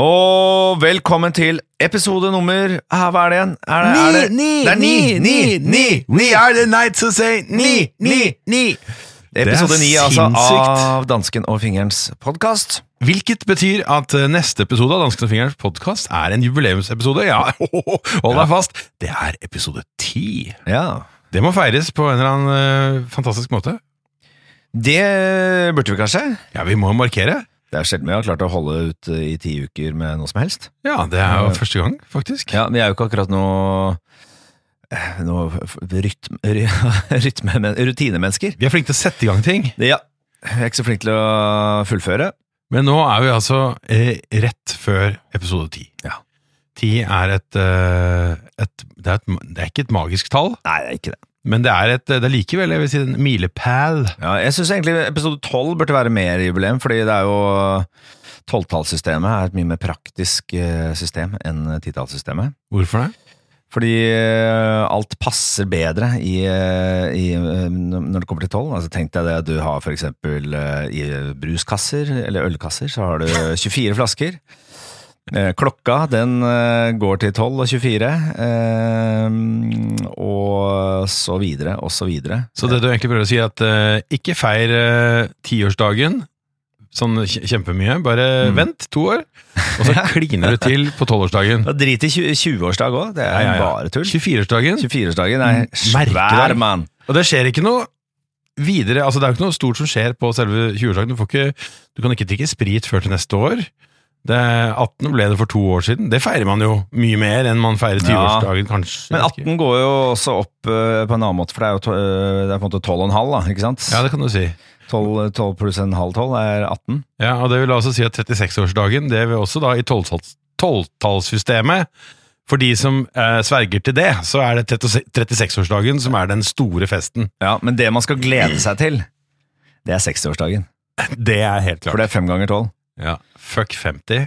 Og velkommen til episode nummer ah, Hva er det igjen? Er det, er det, Ni, ni, det er ni, ni, ni, ni, ni! We are the night to say ni, ni, ni. Episode Det er ni altså, sinnssykt. av Dansken og fingerens podkast. Hvilket betyr at eh, neste episode av Dansken og fingerens podkast er en jubileumsepisode. Ja, hold deg fast! Det er episode ti. Ja. Det må feires på en eller annen eh, fantastisk måte. Det burde vi kanskje? Ja, vi må markere. Det er sjelden vi har klart å holde ut eh, i ti uker med noe som helst. Ja, det er jo første gang, faktisk. Ja, Vi er jo ikke akkurat noe, eh, noe f- rytm, ry- rytme, men- rutinemennesker. Vi er flinke til å sette i gang ting, Ja. Jeg er ikke så flink til å fullføre. men nå er vi altså eh, rett før episode ti. Ja. Ti er et, eh, et, det er et Det er ikke et magisk tall, Nei, det er ikke det. men det er, et, det er likevel jeg vil si, en milepæl. Ja, jeg syns egentlig episode 12 burde være mer jubileum, fordi det er jo Tolvtallssystemet er et mye mer praktisk eh, system enn titallssystemet. Hvorfor det? Fordi eh, alt passer bedre i, eh, i, eh, når det kommer til tolv. Altså, Tenk deg det at du har f.eks. i bruskasser, eller ølkasser, så har du 24 flasker. Eh, Klokka den eh, går til 12 og 24, eh, og så videre og så videre. Så det du egentlig prøver å si er at eh, ikke feir eh, tiårsdagen sånn kje- kjempemye, bare Mm. vent to år, og så kliner du til på tolvårsdagen. Ja, Drit i tju- 20-årsdag òg, det er Ja, ja, ja. bare tull. 24-årsdagen, 24-årsdagen er Merker svær, deg. mann. og det skjer ikke noe videre, altså det er jo ikke noe stort som skjer på selve 20-årsdagen, du, får ikke, du kan ikke drikke sprit før til neste år. Det, 18 ble det for to år siden, det feirer man jo mye mer enn man feirer 20-årsdagen kanskje. Men 18 går jo også opp eh, på en annen måte, for det er jo to, eh, det er på en måte 12 og en halv, da, ikke sant? Ja, det kan du si. 12, 12 pluss en halv 12 er 18. Ja, og det vil altså si at 36-årsdagen, det vil også da i tolvtalls- tolvtallssystemet For de som eh, sverger til det, så er det 36 36-årsdagen som er den store festen. Ja, Men det man skal glede seg til, det er 60-årsdagen. Det er helt For det er fem ganger 12. Ja, fuck 50,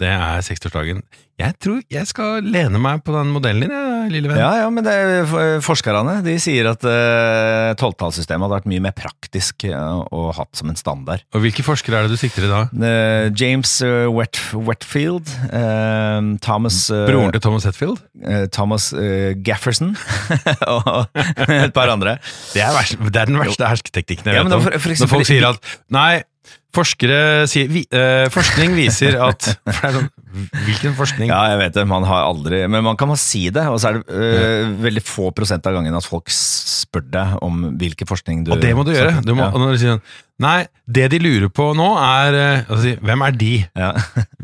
det er 60-årsdagen. Jeg tror jeg skal lene meg på den modellen din, jeg, lille venn. Ja, ja, men det er, eh, for- forskerne de sier at eh, tolvtallssystemet hadde vært mye mer praktisk eh, og hatt som en standard. Og hvilke forskere er det du sikter til da? Eh, James eh, Wet, Wetfield, eh, Thomas eh, Broren til Thomas Hetfield? eh, Thomas eh, Gafferson og et par andre. Det er, vers, det er den verste hersketeknikken jeg Ja, men vet da om. for- for Når folk eksempel- sier at Nei, forskere sier vi, eh, Forskning viser at for det er sånn, Hvilken forskning? Ja, jeg vet det, man har aldri Men man kan bare si det, og så er det eh, veldig få prosent av gangen at folk spør deg om hvilken forskning du Og det må du gjøre. Du må, Ja. og når du sier, sånn, nei, det de lurer på nå er eh, altså, si, Hvem er de? Ja.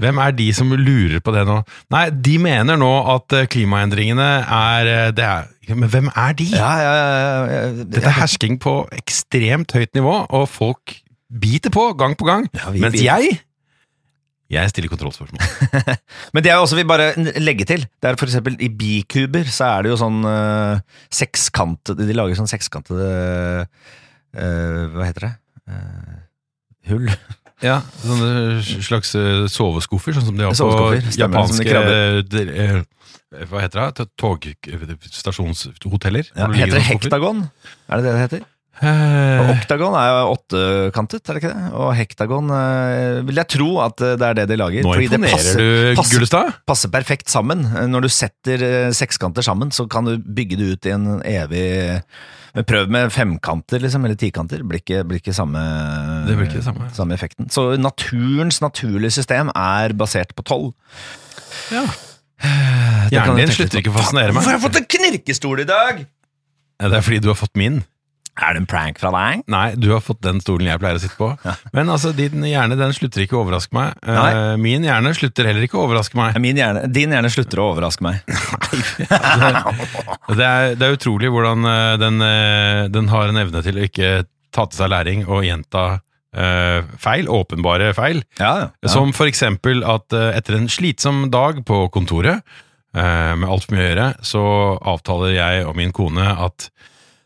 Hvem er de som lurer på det nå? Nei, de mener nå at eh, klimaendringene er eh, det er, ja, Men hvem er de? Ja, ja, ja, ja, Dette er hersking på ekstremt høyt nivå, og folk biter på gang på gang. Ja, vi mens biter. jeg jeg stiller kontrollspørsmål. Men det er jo også, vi bare legger til, det er for eksempel i bikuber, så er det jo sånn eh, sekskantede, de lager sånn sekskantede, eh, hva heter det? Eh, hull. Ja, Sånne slags eh, soveskuffer, sånn som de har på Soveskuffer, stemmer, som de japanske krabber. eh, dr- eh, Hva heter det? Togstasjonshoteller? Ja, heter det hektagon? Er det det det heter? Og Eh, Oktagon er jo åttekantet, er det ikke det? Og hektagon eh, vil jeg tro at eh, det er det de lager. nå fordi det imponerer passer, du, passer- Gullestad. passer perfekt sammen. Eh, Når du setter eh, sekskanter sammen, så kan du bygge det ut i en evig men Prøv med femkanter, liksom, eller tikanter. Blir ikke, blir ikke samme eh, Det blir ikke det samme. samme effekten. Så naturens naturlige system er basert på tolv. Ja. Eh, Det kan Hjernen jeg tenke litt din slutter på. ikke å fascinere meg. Hvorfor har jeg fått en knirkestol i dag?! Ja, Det er fordi du har fått min. Er det en prank fra deg? Nei, du har fått den stolen jeg pleier å sitte på. Men altså, din hjerne den slutter ikke å overraske meg. Eh, Nei. Min hjerne slutter heller ikke å overraske meg. Min hjerne, din hjerne slutter å overraske meg. Det er, det er utrolig hvordan eh, den, eh, den har en evne til å ikke ta til seg læring og gjenta eh, feil, åpenbare feil. Ja, ja. Som for eksempel at eh, etter en slitsom dag på kontoret, eh, med alt for mye å gjøre, så avtaler jeg og min kone at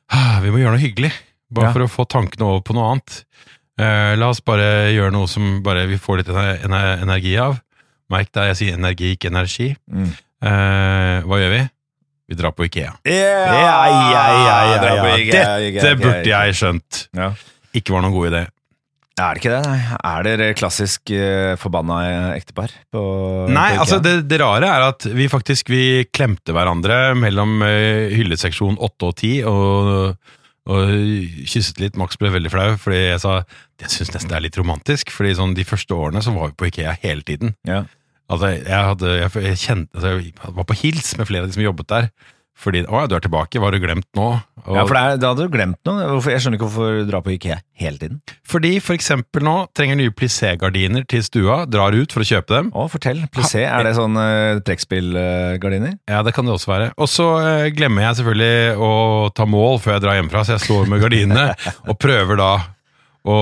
«Ah, vi må gjøre noe hyggelig, bare Ja. for å få tankene over på noe annet. Eh, la oss bare gjøre noe som bare vi får litt ener- ener- energi av. Merk deg, jeg sier energi, ikke energi. Mm. Eh, hva gjør vi? Vi drar på Ikea. Ja, ja, ja, ja, ja. Dette Det burde jeg skjønt. Ja. Ikke var noen god idé. Er det ikke det, nei? Er dere klassisk eh, forbanna ektepar? På, Nei, på altså IKEA? det, det rare er at vi faktisk vi klemte hverandre mellom eh, hylleseksjon 8 og 10, og, og kysset litt. Max ble veldig flau, fordi jeg sa jeg syns nesten det er litt romantisk. fordi sånn de første årene så var vi på Ikea hele tiden. Ja. Altså, jeg, hadde, jeg, jeg, kjente, altså, jeg var på hils med flere av de som jobbet der. Fordi 'Å ja, du er tilbake. Hva har du glemt nå?' Og, ja, for det er, da hadde du glemt noe. Hvorfor, jeg skjønner ikke hvorfor du drar på Ikea hele tiden. Fordi for eksempel nå trenger nye plissé-gardiner til stua, drar ut for å kjøpe dem. Å, fortell. Plissé, er det sånn uh, trekkspillgardiner? Ja, det kan det også være. Og så eh, glemmer jeg selvfølgelig å ta mål før jeg drar hjemmefra, så jeg står med gardinene og prøver da å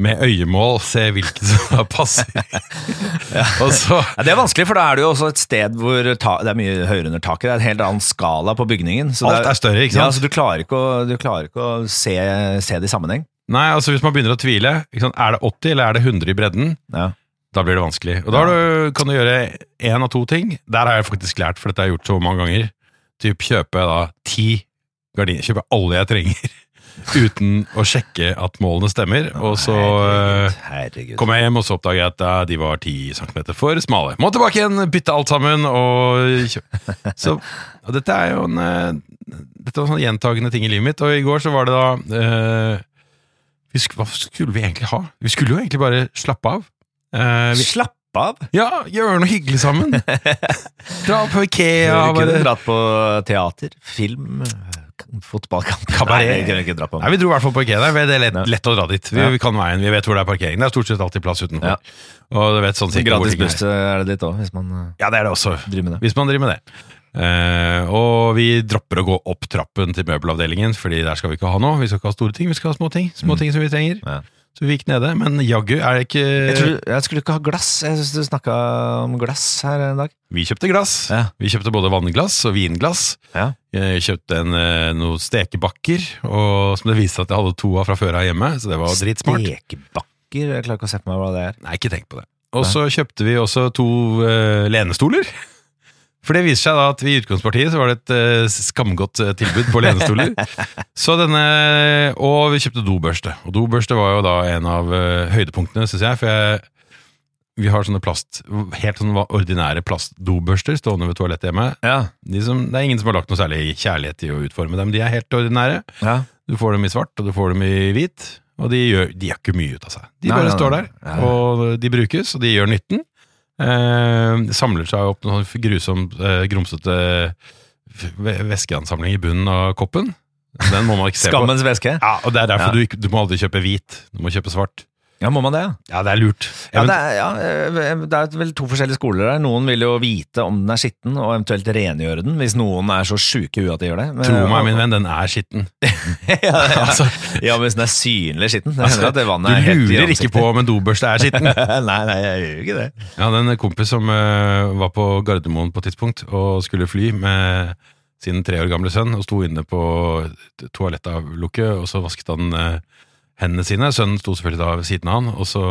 med øyemål se hvilken som da passer. og så Ja, det er vanskelig, for da er det jo også et sted hvor ta, det er mye høyere under taket. Det er en helt annen skala på bygningen. Så Alt det er større, ikke ja, sant? så du klarer ikke å, du klarer ikke å se, se det i sammenheng. Nei, altså hvis man begynner å tvile, ikke sant? er det 80 eller er det 100 i bredden? Ja. Da blir det vanskelig. Og da har du, kan du gjøre én av to ting. Der har jeg faktisk lært, for dette har jeg gjort så mange ganger. Typ kjøper jeg da ti gardiner. Kjøper alle jeg trenger. Uten å sjekke at målene stemmer. Og så eh, Herregud, herregud. kom jeg hjem, og så oppdaget jeg at eh, de var ti centimeter for smale. Må tilbake igjen, bytte alt sammen og kjøpe. Så og dette er jo en eh, Dette var sånne gjentagende ting i livet mitt. Og i går så var det da eh, vi sk Hva skulle vi egentlig ha? Vi skulle jo egentlig bare slappe av. Eh, vi, Slapp av! ja, gjøre noe hyggelig sammen. Dra på Ja, Ikea. du kunne Bare. dratt på teater, film, eh, fotballkamp Kabaret. Nei, det kunne du ikke dratt på. Nei, Vi dro i hvert fall på Ikea. Der. Det er lett, Ja. lett å dra dit. Vi, Ja. vi kan veien, vi vet hvor det er parkering. Det er stort sett alltid plass utenfor. Ja. Og du vet sånn Så cirka hvor gratis ting er. buss er det ditt òg, hvis man eh, Ja, det er det også. driver med det. Hvis man driver med det. Eh, og vi dropper å gå opp trappen til møbelavdelingen, Fordi der skal vi ikke ha noe. Vi skal ikke ha store ting, vi skal ha små ting. Små Mm. ting som vi trenger. Ja. Så vi gikk nede. Men jaggu er det ikke Jeg, tror, jeg skulle ikke ha glass. Jeg syns du snakka om glass her en dag. Vi kjøpte glass. Ja. Vi kjøpte både vannglass og vinglass. Ja. Jeg kjøpte en, eh, noen stekebakker, og, som det viste seg at jeg hadde to av fra før av hjemme. Så det var dritsmart. Stekebakker? Jeg klarer ikke å se på meg hva det er. Nei, ikke tenk på det. Og så kjøpte vi også to eh, lenestoler. For det viser seg da at i utgangspartiet så var det et eh, skamgodt eh, tilbud på lenestoler. så denne, Og vi kjøpte dobørste. Og dobørste var jo da en av eh, høydepunktene, syns jeg. For jeg, vi har sånne plast, helt sånne ordinære plastdobørster stående ved toalettet hjemme. Ja. De som, det er ingen som har lagt noe særlig kjærlighet i å utforme dem. De er helt ordinære. ja. Du får dem i svart, og du får dem i hvit. Og de gjør, de gjør ikke mye ut av seg. De Nei, bare nei, står nei. der, Ja, ja. og de brukes, og de gjør nytten. Eh, det samler seg opp noen sånn grusom, eh, grumsete eh, v- væskeansamling i bunnen av koppen. Den må man ikke se på. Skammens væske. Ja, og det er derfor Ja. du, ikke, du må aldri kjøpe hvit. Du må kjøpe svart. Ja, må man det? Ja. Ja, det er lurt. Ja, det, er, ja, eh, det er vel to forskjellige skoler der. Noen vil jo vite om den er skitten, og eventuelt rengjøre den, hvis noen er så sjuke i huet at de gjør det. Men- Tro meg, min venn, den er skitten. ja, ja. Altså, ja, men hvis den er synlig skitten. Det Altså, hender at det du vannet er helt i lurer ikke ansiktet. på om en dobørste er skitten. nei, nei, jeg gjør ikke det. Jeg hadde en kompis som eh, var på Gardermoen på et tidspunkt og skulle fly med sin tre år gamle sønn og sto inne på t- toalettavlukket, og så vasket han eh, hendene sine. Sønnen sto selvfølgelig da ved siden av han, og så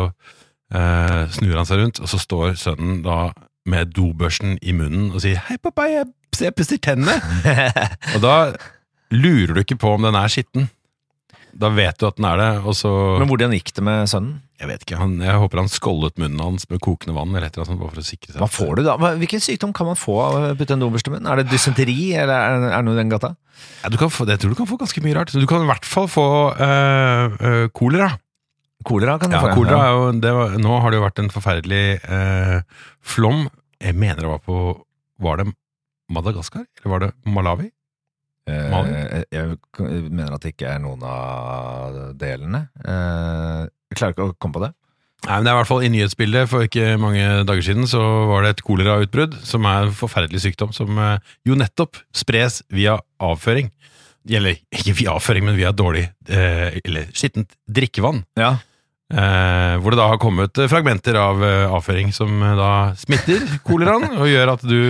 eh, snur han seg rundt, og så står sønnen da med dobørsten i munnen og sier 'Hei, pappa, jeg, jeg pusser tennene'. og da lurer du ikke på om den er skitten. Da vet du at den er det, og så Men hvordan gikk det med sønnen? Jeg vet ikke, han, jeg håper han skållet munnen hans med kokende vann eller et eller annet sånt, bare for å sikre seg. Hva får du da? Hva- Hvilken sykdom kan man få av å putte en dobbeltste munn? Er det dysenteri, eller er er det noe i den gata? Ja, du kan få, jeg tror du kan få ganske mye rart. Du kan i hvert fall få øh, øh, kolera. Kolera kan du Ja, få. kolera er jo, det var, nå har det jo vært en forferdelig øh, flom. Jeg mener det var på Var det Madagaskar? Eller var det Malawi? Eh, Malen? Jeg mener at det ikke er noen av delene. Eh, Jeg klarer ikke å komme på det. Nei, men det er i hvert fall I nyhetsbildet for ikke mange dager siden så var det et kolerautbrudd, som er en forferdelig sykdom, som øh, jo nettopp spres via avføring. Eller ikke via avføring, men via dårlig øh, eller skittent drikkevann. Ja. Eh, hvor det da har kommet eh, fragmenter av eh, avføring som eh, da smitter koleraen, og gjør at du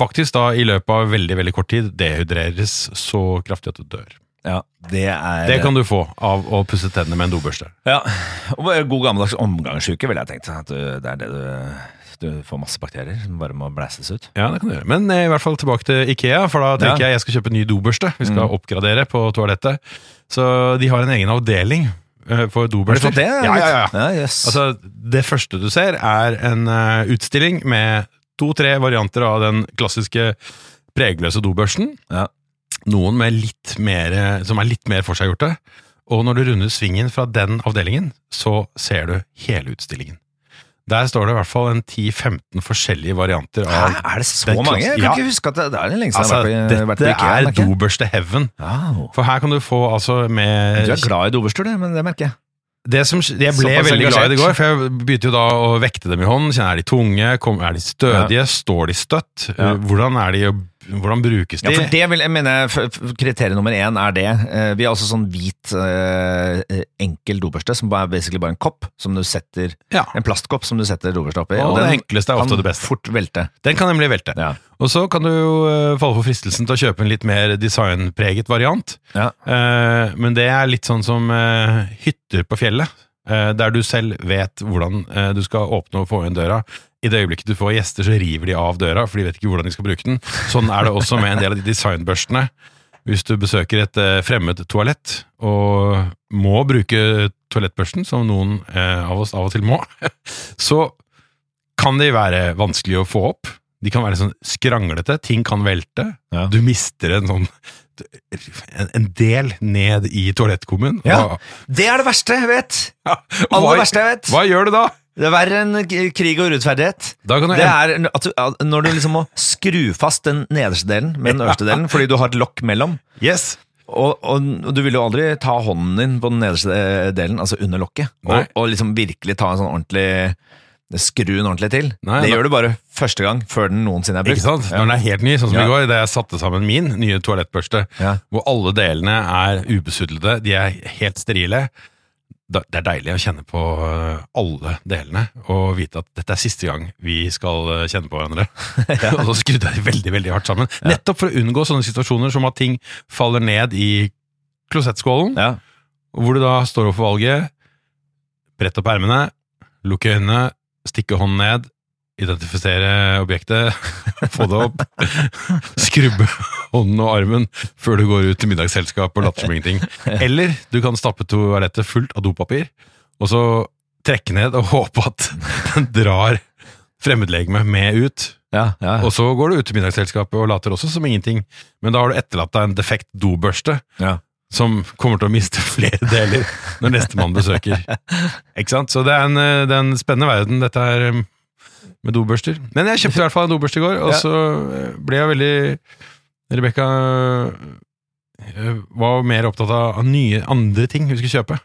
faktisk da i løpet av veldig veldig kort tid dehydreres så kraftig at du dør. Ja, det er Det kan du få av å pusse tennene med en dobørste. Ja, og bare God gammeldags omgangssyke, ville jeg tenkt. At du, det er det du Du får masse bakterier som bare må blæses ut. Ja, det kan du gjøre. Men eh, i hvert fall tilbake til Ikea, for da tenker Ja. jeg jeg skal kjøpe en ny dobørste. Vi skal Mm. oppgradere på toalettet. Så de har en egen avdeling eh, for Har du dobørster. fått det? Ja, ja, ja. ja jøss. Altså, det første du ser er en eh, utstilling med to-tre varianter av den klassiske pregløse dobørsten. Ja. Noen med litt mer, eh, som er litt mer forseggjorte. Og når du runder svingen fra den avdelingen, så ser du hele utstillingen. Der står det i hvert fall en 10-15 forskjellige varianter Hæ, av er det så det er mange? Jeg kan klasse- ikke huske at det, det er det lengste Altså, jeg har vært på- vært på dette IKEA. er merker jeg. dobørste heaven. Wow. For her kan du få altså med Du er glad i doberstol, det, men det merker jeg. det som, jeg ble Såpass veldig glad i det engasjert. i går, for jeg begynte jo da å vekte dem i hånden. Kjenne, er de tunge? Kom, er de stødige? Står de støtt? Ja. Hvordan, er de, hvordan brukes Ja, de? for det vil jeg mene f- f- Kriteriet nummer én er det. Eh, Vi har også sånn hvit, eh, enkel dobørste, som er basically bare en kopp som du setter Ja. En plastkopp som du setter dobørste oppi. og det enkleste er ofte det beste. fort velte. Den kan nemlig velte. Ja. Og så kan du jo eh, falle for fristelsen til å kjøpe en litt mer designpreget variant. Ja. Eh, men det er litt sånn som eh, hytter på fjellet, eh, der du selv vet hvordan eh, du skal åpne og få inn døra. I det øyeblikket du får gjester, så river de av døra, for de vet ikke hvordan de skal bruke den. Sånn er det også med en del av de designbørstene. Hvis du besøker et eh, fremmed toalett og må bruke toalettbørsten, som noen eh, av oss av og til må, så kan de være vanskelig å få opp. De kan være sånn skranglete, ting kan velte. Ja. Du mister en sånn en- en del ned i toalettkummen. Ja. Hva- Det er det verste jeg vet! Hva, Aller verste jeg vet! hva gjør du da? Det er verre enn k- krig og urettferdighet. Da kan du Det er n- at du, at når du liksom må skru fast den nederste delen med den øverste delen fordi du har et lokk mellom. Yes! Og, og, og du vil jo aldri ta hånden din på den nederste eh, delen, altså under lokket, Nei. og, og liksom virkelig ta en sånn ordentlig Skru den ordentlig til. Nei, det da- gjør du bare første gang, før den noensinne er brukt. Ikke sant? Når den er helt ny, sånn som Ja. i går, da jeg satte sammen min nye toalettbørste, Ja. hvor alle delene er ubesudlede, de er helt sterile. Da- Det er deilig å kjenne på eh, alle delene, og vite at dette er siste gang vi skal eh, kjenne på hverandre. og så skrudde jeg det veldig, veldig hardt sammen. Nettopp for å unngå sånne situasjoner som at ting faller ned i klosettskålen, Ja. hvor du da står overfor valget, brett opp ermene, lukke øynene, stikke hånden ned, identifisere objektet, få det opp, skrubbe hånden og armen før du går ut til middagsselskap og later som ingenting. Eller du kan stappe toalettet fullt av dopapir, og så trekke ned og håpe at den drar fremmedlegemet med ut. Ja, ja. Og så går du ut til middagsselskapet og later også som ingenting, men da har du etterlatt deg en defekt dobørste ja. som kommer til å miste flere deler når nestemann besøker. Ikke sant? Så det er en, eh, det er en spennende verden, dette her eh, med dobørster. Men jeg kjøpte i hvert fall en dobørste i går, og Ja. så eh, ble jeg veldig Rebekka eh, var mer opptatt av av nye, andre ting hun skulle kjøpe.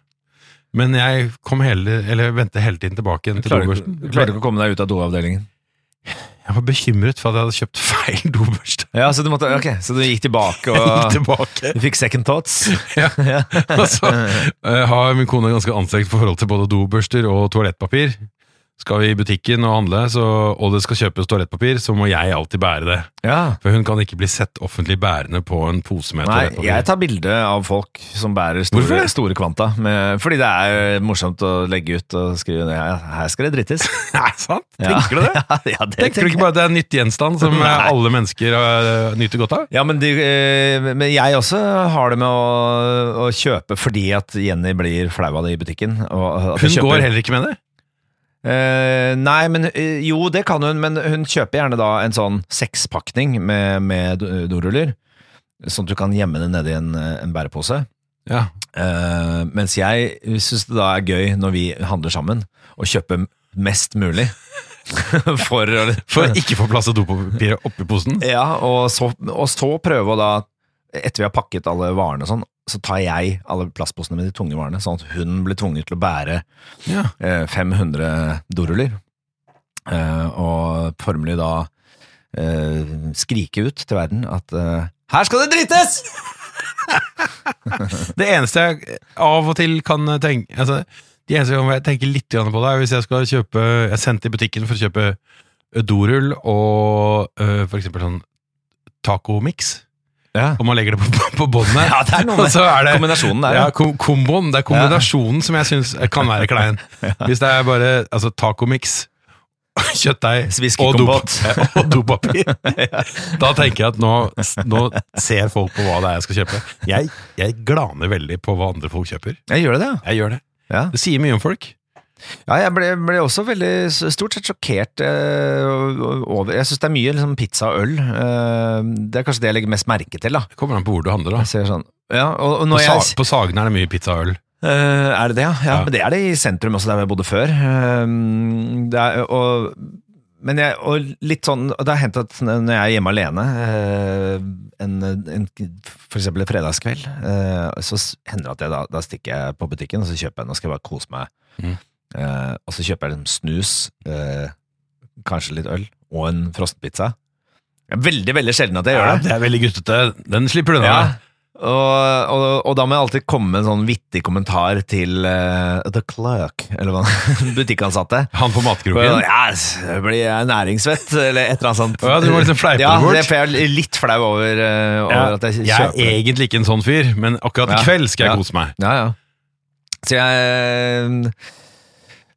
Men jeg kom hele, eller ventet hele tiden tilbake igjen til Klarer, dobørsten. ikke- klarer ikke å komme deg ut av doavdelingen. Jeg var bekymret for at jeg hadde kjøpt feil dobørste. Ja, så du, måtte, ok, så du gikk tilbake og Gikk tilbake. Du fikk second thoughts? Ja. ja. altså, eh, har min kone ganske anstrengt forhold til både dobørster og toalettpapir. Skal vi i butikken og handle, så, og det skal kjøpes toalettpapir, så må jeg alltid bære det. ja. For hun kan ikke bli sett offentlig bærende på en pose med Nei, toalettpapir. jeg tar bilde av folk som bærer store, Hvorfor det? store kvanta. Med, fordi det er morsomt å legge ut og skrive ja, Her skal det drittes. Nei, sant? Ja. Tenker du det? ja, det Tenker du ikke bare at det er en nyttig gjenstand som eh, Nei. alle mennesker eh, nyter godt av? Ja, men, de, eh, men jeg også har det med å, å kjøpe fordi at Jenny blir flau av det i butikken. Og at jeg Hun kjøper- går heller ikke med det. Eh, nei, men eh, jo, det kan hun, men hun kjøper gjerne da en sånn sekspakning med, med do- doruller. Sånn at du kan gjemme det nedi en, eh, en bærepose. Ja. Eh, mens jeg syns det da er gøy når vi handler sammen, å kjøpe mest mulig. For, å- For å ikke få plass til dopapiret oppi posen. Ja, og så, og så prøve å da Etter vi har pakket alle varene og sånn, så tar jeg alle plastposene med de tunge varene, sånn at hun blir tvunget til å bære Ja. eh, 500 doruller. Eh, og formelig da eh, skrike ut til verden at eh, Her skal det drites! Det eneste jeg av og til kan tenke altså, De eneste gangene jeg tenker litt grann på det, er hvis jeg skal kjøpe Jeg er sendt i butikken for å kjøpe eh, dorull og øh, for eksempel sånn tacomix. Ja. Og man legger det på, på båndet. Ja, det er noe og med så er det kombinasjonen der. ja, Ja. kom, komboen. Det er kombinasjonen som jeg syns kan være klein. Hvis det er bare altså, tacomix kjøttdeig og, dop Sviskekompott. og dopapir. Da tenker jeg at nå, nå ser folk på hva det er jeg skal kjøpe. Jeg, jeg glaner veldig på hva andre folk kjøper. Jeg gjør det, ja. Jeg gjør det. ja. Det sier mye om folk. Ja, jeg ble, ble også veldig s- stort sett sjokkert eh, over Jeg syns det er mye liksom, pizza og øl. Eh, det er kanskje det jeg legger mest merke til. da Det kommer an på hvor du handler. Jeg da. ser sånn ja, og, og På, når sa, jeg, på Sagene er det mye pizza og øl. Eh, er det det, ja? ja? Ja. Men det er det i sentrum også, der hvor jeg bodde før. Eh, det er, og, men jeg, og litt sånn og Det har hendt at når jeg er hjemme alene, eh, en, en, for eksempel en fredagskveld, eh, så s- hender det at jeg da, da stikker jeg på butikken og så kjøper jeg, nå skal jeg bare kose meg. Mhm. Eh, og så kjøper jeg liksom snus, eh, kanskje litt øl, og en frossenpizza. Det er Veldig, veldig sjelden at jeg gjør det. det er veldig guttete. Den slipper du unna. Ja. Og, og, og da må jeg alltid komme med en sånn vittig kommentar til eh, the clerk, eller hva butikkansatte. Han på Og jeg, matkroken. Ja, det blir jeg næringsvett, eller et eller annet sånt. Å ja, du må liksom fleipe ja, det bort. det, for jeg er litt flau over, eh, over Ja, at jeg jeg er kjøper det. egentlig ikke en sånn fyr, men akkurat i Ja. kveld skal jeg Ja. kose meg. Ja, ja. Så jeg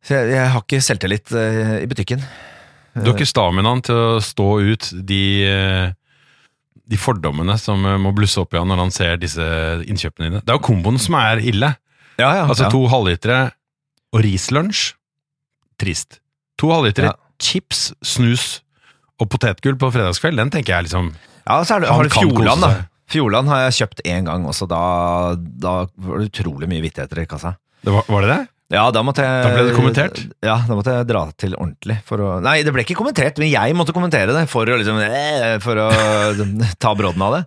Så jeg, jeg har ikke selvtillit eh, i butikken. Du har ikke staminaen til å stå ut de, eh, de fordommene som eh, må blusse opp i han når han ser disse innkjøpene dine. Det er jo komboen som er ille. Ja, Ah, ja, Altså ja. to halvlitere og rislunsj. Trist. To halvlitere Ja. chips, snus og potetgull på fredagskveld, den tenker jeg liksom Ja, og så er det, Han har du kan kose Fjordland, da. seg. Fjordland har jeg kjøpt én gang også. Da, da var det utrolig mye vittigheter i kassa. det var, var det det? Ja, da måtte jeg Da ble det kommentert? Ja, da måtte jeg dra til ordentlig for å Nei, det ble ikke kommentert, men jeg måtte kommentere det for å liksom eh, For å ta brodden av det.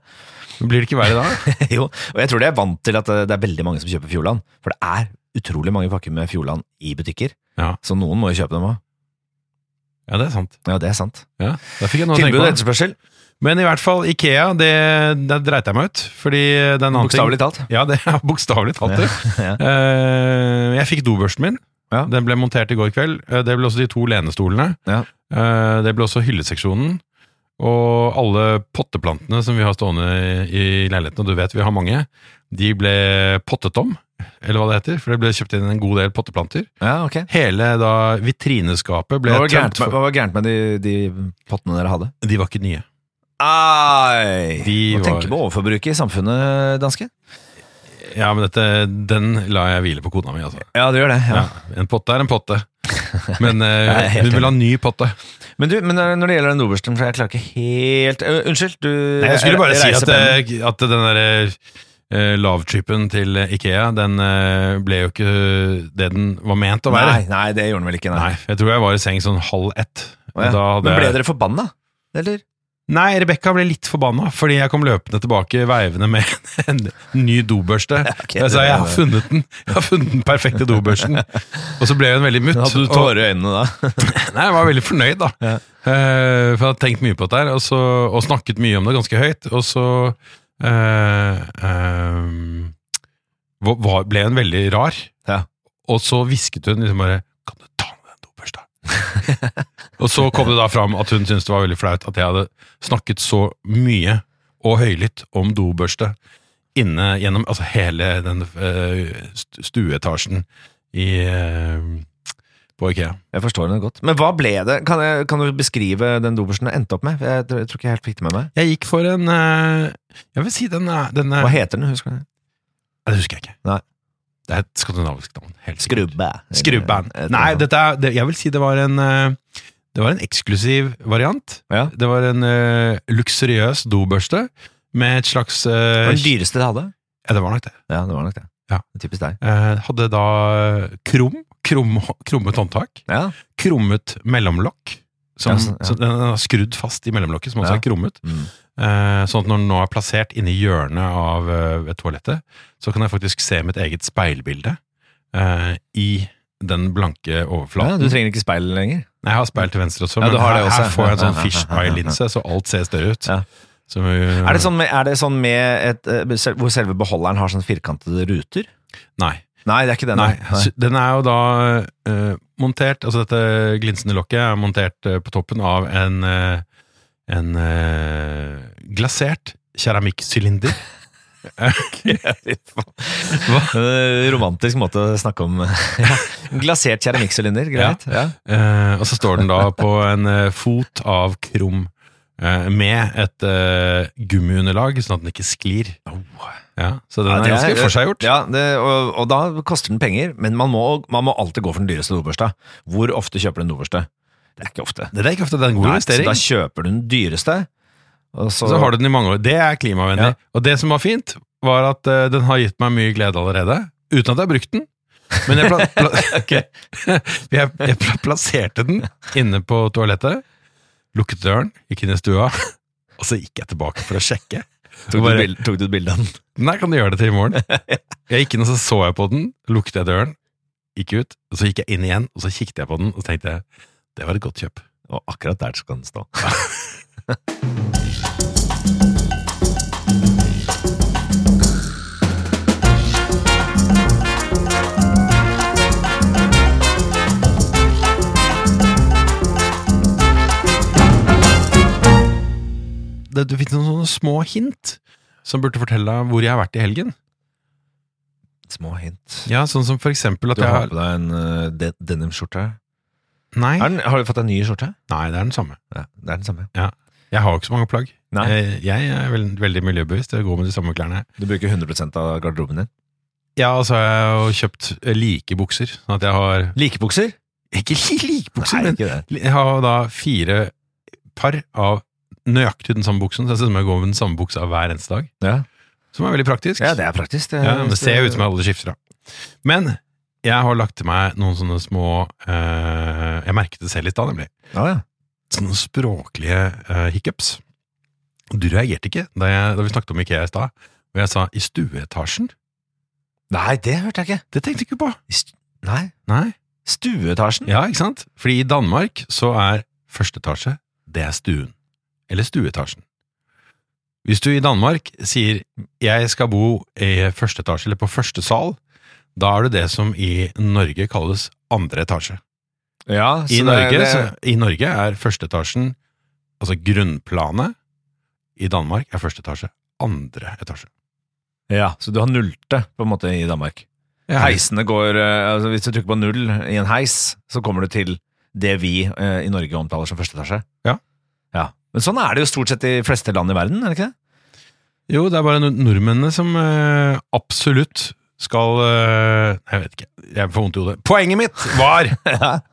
Blir det ikke verre da? jo, og jeg tror de er vant til at det er veldig mange som kjøper Fjordland. For det er utrolig mange pakker med Fjordland i butikker. Ja. Så noen må jo kjøpe dem òg. Ja, det er sant. Ja, det er sant. Ja, da fikk jeg noe å Tilbud tenke og på. etterspørsel. Men i hvert fall, Ikea, det, det dreit jeg meg ut. Fordi det er en annen ting. Bokstavelig talt. Ja, det er bokstavelig talt det. Ja. Eh, jeg fikk dobørsten min. Ja. Den ble montert i går kveld. Eh, Det ble også de to lenestolene. Ja. Eh, det ble også hylleseksjonen. Og alle potteplantene som vi har stående i i leiligheten, og du vet vi har mange, de ble pottet om, eller hva det heter. For det ble kjøpt inn en god del potteplanter. ja, ok. Hele da vitrineskapet ble Hva var tømt gærent med, for hva var gærent med de, de pottene dere hadde? De var ikke nye. Ai! De Må var- tenke på overforbruket i samfunnet, danske. Ja, men dette, den la jeg hvile på kona mi, altså. Ja, du gjør det. Ja. En potte er en potte. Men eh, Jeg er helt hun vil ha en ny potte. Men du, men eh, når det gjelder den Obersten, for jeg klarer ikke helt Ø, Unnskyld, du Nei, jeg skulle bare si reiser at, pennen. eh, at den der eh, lavtrippen til Ikea, den eh, ble jo ikke det den var ment å være. Nei, nei, det gjorde den vel ikke, nei. jeg tror jeg var i seng sånn halv ett. Å, og ja. da hadde Men ble jeg- dere forbanna? Eller? Nei, Rebekka ble litt forbanna, fordi jeg kom løpende tilbake veivende med en ny dobørste. ok, jeg sa det- jeg har funnet den Jeg har funnet den perfekte dobørsten. Og så ble hun veldig mutt. Hadde du og- tårer i øynene da? Nei, jeg var veldig fornøyd da Ja. Eh, For jeg hadde tenkt mye på dette her og, så, og snakket mye om det ganske høyt Og så eh, eh, var- var- Ble hun veldig rar Ja. Og så visket hun liksom bare Kan du ta med den dobørsta? og så kom det da fram at hun syntes det var veldig flaut At jeg hadde snakket så mye Og høylytt om dobørste Inne gjennom altså hele den eh, st- stueetasjen i, eh, På IKEA Jeg forstår henne godt. Men hva ble det? Kan, jeg, kan du beskrive den Obersten det endte opp med? Jeg, tror- jeg tror ikke jeg helt fikk det med meg. Jeg gikk for en eh, Jeg vil si den eh, er, den er Hva heter den, husker du? det? Nei, Det husker jeg ikke. Nei. Det er et skandinavisk navn. helt sikkert. Skrubbe. Skrubben. Eller- Nei, dette er, det, jeg vil si det var en eh, Det var en eksklusiv variant. Ja. Det var en eh, luksuriøs dobørste med et slags eh, Det var den dyreste de hadde? Ja, det var nok det. Ja, det var nok det. Ja. Typisk deg. Eh, hadde da eh, krum, krum, krummet håndtak, Ja. krummet mellomlokk. Som, Ja, sånn, ja. Så den er skrudd fast i mellomlokket, som også Ja. er krummet. Mm. Eh, Sånn at når den nå er plassert inni hjørnet av eh, ved toalettet, så kan jeg faktisk se mitt eget speilbilde eh, i den blanke ja, overflaten. Du trenger ikke speil lenger. Nei, Jeg har speil til venstre også, Ja, men du har det her, også, ja. her får jeg en Ja, sånn ja, ja, ja, ja. fisheye-linse, så alt ser større ut. Ja. Som, eh, Er det sånn med, er det sånn med et, eh, sel- hvor selve beholderen har sånn firkantede ruter? Nei. Nei, det er ikke den. nei. nei. Nei. Så Den er jo da eh, montert Altså dette glinsende lokket er montert eh, på toppen av en, eh, en eh, glasert keramikk sylinder Eh, Romantisk måte å snakke om ja. Glasert keramikksylinder, greit. Ja. Eh, og så står den da på en eh, fot av krum eh, med et eh, gummiunderlag, sånn at den ikke sklir. Ja, så den Ja, er det er- ganske forseggjort. Ja, det, og, og da koster den penger, men man må, man må alltid gå for den dyreste dobørsta. Hvor ofte kjøper du en dobørste? Det er ikke ofte. Det er ikke ofte det er en god Nei, så investering. da kjøper du den dyreste, og så, Så har du den i mange år. Det er klimavennlig. Ja. Og det som var fint, var at eh, den har gitt meg mye glede allerede, uten at jeg har brukt den. Men jeg, pla pla Ok. jeg, jeg pla plasserte den inne på toalettet, lukket døren, gikk inn i stua, og så gikk jeg tilbake for å sjekke. tok, bare- du bild, tok du et bilde av den. Nei, kan du gjøre det til i morgen? Jeg gikk inn og så så jeg på den, lukket jeg døren, gikk ut, og så gikk jeg inn igjen, og så kikket jeg på den, og så tenkte jeg, det var et godt kjøp. Og akkurat der skal den stå. Det, det finnes noen sånne små hint som burde fortelle deg hvor jeg har vært i helgen. Små hint. Ja, sånn som for eksempel at Du jeg har har... på deg en eh, de denimskjorte. Nei, Er den- Har du fått deg en ny skjorte? nei, det er den samme. Ja, det er den samme. Jeg har jo ikke så mange plagg. Nei. Eh, Jeg er veld, veldig miljøbevisst, jeg går med de samme klærne. Du bruker 100 av garderoben din. Ja, og så har jeg jo kjøpt eh, like bukser, sånn at jeg har... Likebukser? Ikke li- like bukser, Nei, men ikke det. Jeg har da fire par av nøyaktig den samme buksen, så jeg synes jeg går med den samme buksa hver eneste dag. Ja. Som er veldig praktisk. ja, det er praktisk. Det, Ja, men det ser jo ut som jeg aldri skifter, da. Men jeg har lagt til meg noen sånne små eh, Jeg merket det selv i stad, nemlig. Ja, ja. Sånne språklige eh, hiccups. Og Du reagerte ikke da, jeg, da vi snakket om Ikea i stad, og jeg sa 'i stueetasjen'. Nei, det hørte jeg ikke. Det tenkte jeg ikke på. I st- Nei. Nei. Stueetasjen? Ja, ikke sant? Fordi i Danmark så er første etasje, det er stuen. Eller stueetasjen. Hvis du i Danmark sier 'jeg skal bo i første etasje' eller 'på første sal', da er det det som i Norge kalles andre etasje. Ja, I, så Norge, det, Så, det, I Norge er første etasjen altså grunnplanet. I Danmark er første etasje andre etasje. ja, så du har nullte på en måte i Danmark. Heisene går eh, altså Hvis du trykker på null i en heis, så kommer du til det vi eh, i Norge omtaler som første etasje. Ja. ja. Men sånn er det jo stort sett i fleste land i verden, er det ikke det? Jo, det er bare nord- nordmennene som eh, absolutt skal eh, Jeg vet ikke, jeg får vondt i hodet. Poenget mitt var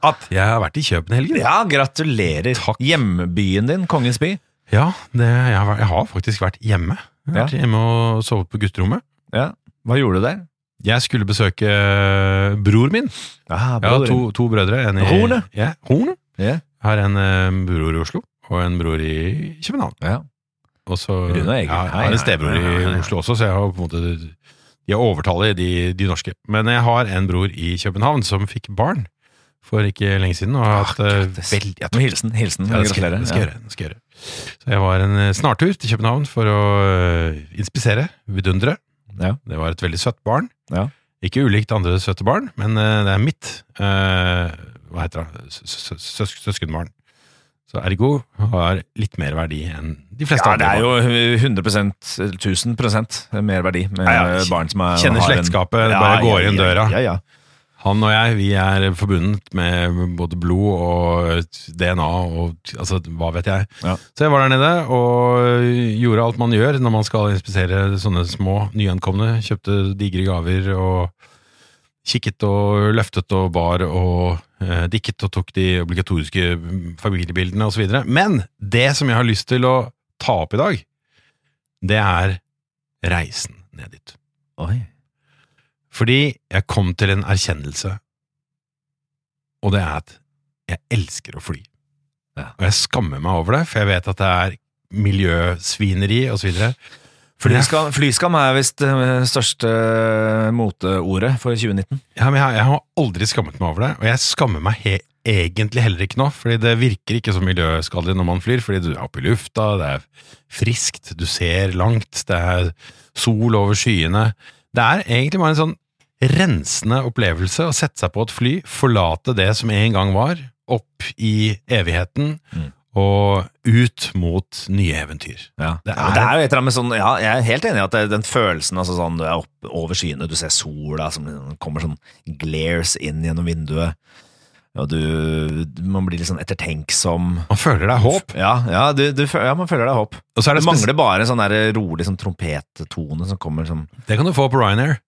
at jeg har vært i Kjøpen i helgen. Ja, gratulerer. Takk. Hjembyen din, Kongens by. Ja, det, jeg, har, vært- jeg har faktisk vært hjemme. Jeg har vært hjemme og sovet på gutterommet. Hva gjorde du der? Jeg skulle besøke eh, bror min. Ah, Jeg har to, to brødre. En i, Hornet. Ja, Hornet. Ja. Jeg har en eh, bror i Oslo og en bror i København. Ja. Og så Rune og Egil. Ja, Hei, jeg har hei. en stebror Ja, ja, i ja. Oslo også, så jeg har på en måte Jeg overtaler de, de norske. Men jeg har en bror i København som fikk barn for ikke lenge siden. Og Ah, har hatt eh, veldig Vel, hilsen. hilsen. ja, det skal, jeg- Gratulerer. det skal jeg gjøre, det skal jeg gjøre. Så jeg var en eh, snartur til København for å eh, inspisere, vidundre. Ja. Det var et veldig søtt barn. Ja. Ikke ulikt andre søte barn, men eh, det er mitt eh, hva heter det, s- s- s- søs søskenbarn. Så ergo har litt mer verdi enn de fleste Ja, det andre. er barn. jo 100 1000 mer verdi med Ja, ja. barn som er, Kjenner har en- slektskapet, Ja, bare ja, går inn ja, døra. Ja, ja. Han og jeg, vi er forbundet med både blod og DNA og altså, hva vet jeg. Ja. Så jeg var der nede og gjorde alt man gjør når man skal inspisere sånne små nyankomne. Kjøpte digre gaver og kikket og løftet og bar og eh, dikket og tok de obligatoriske familiebildene osv. Men det som jeg har lyst til å ta opp i dag, det er reisen ned dit. Oi. Fordi jeg kom til en erkjennelse, og det er at jeg elsker å fly. Ja. Og jeg skammer meg over det, for jeg vet at det er miljøsvineri og så videre. Fordi jeg, Flyskam, flyskam er visst det største eh, moteordet for 2019. ja, men jeg, jeg har aldri skammet meg over det, og jeg skammer meg he egentlig heller ikke nå, fordi det virker ikke så miljøskadelig når man flyr, fordi du er oppe i lufta, det er friskt, du ser langt, det er sol over skyene. Det er egentlig bare en sånn rensende opplevelse å sette seg på et fly, forlate det som en gang var, opp i evigheten, Mm. og ut mot nye eventyr. Ja. Det Det, er- er, det er jo et eller annet med sånn ja, Jeg er helt enig i at det, den følelsen altså sånn, Du er opp over skyene, du ser sola som liksom kommer sånn glares inn gjennom vinduet. Og du Man blir litt sånn ettertenksom. Man føler det er håp. Ja, ja, du, du, føl- ja man føler det er håp. Og så er Det det spes- mangler bare en sånn der rolig sånn trompettone som kommer som Det kan du få på Ryanair.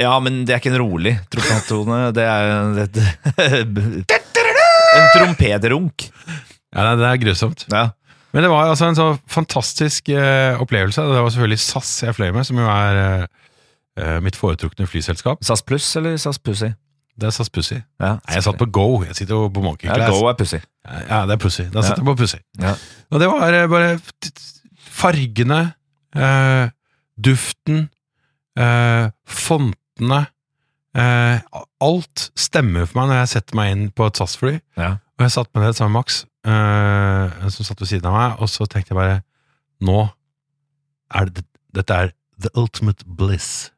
Ja, men det er ikke en rolig trompettone. Det er en- det, det, En trompetrunk. Ja, nei, det er grusomt. Ja. Men det var altså en så fantastisk eh, opplevelse. Det var selvfølgelig SAS jeg fløy med, som jo er eh, eh, mitt foretrukne flyselskap. SAS pluss eller SAS pussy? Det er SAS Pussy. Ja. Nei, jeg satt på Go. Jeg sitter jo på Monkey ja, Class. Go er pussy. Ja, det er Pussy. Da sitter jeg på Pussy. Ja. Og det var eh, bare t- t- fargene, eh, duften, eh, fontene eh, Alt stemmer for meg når jeg setter meg inn på et SAS-fly. Ja. Og jeg satt med det sammen med Max, eh, som satt ved siden av meg, og så tenkte jeg bare Nå er det Dette er the ultimate bliss.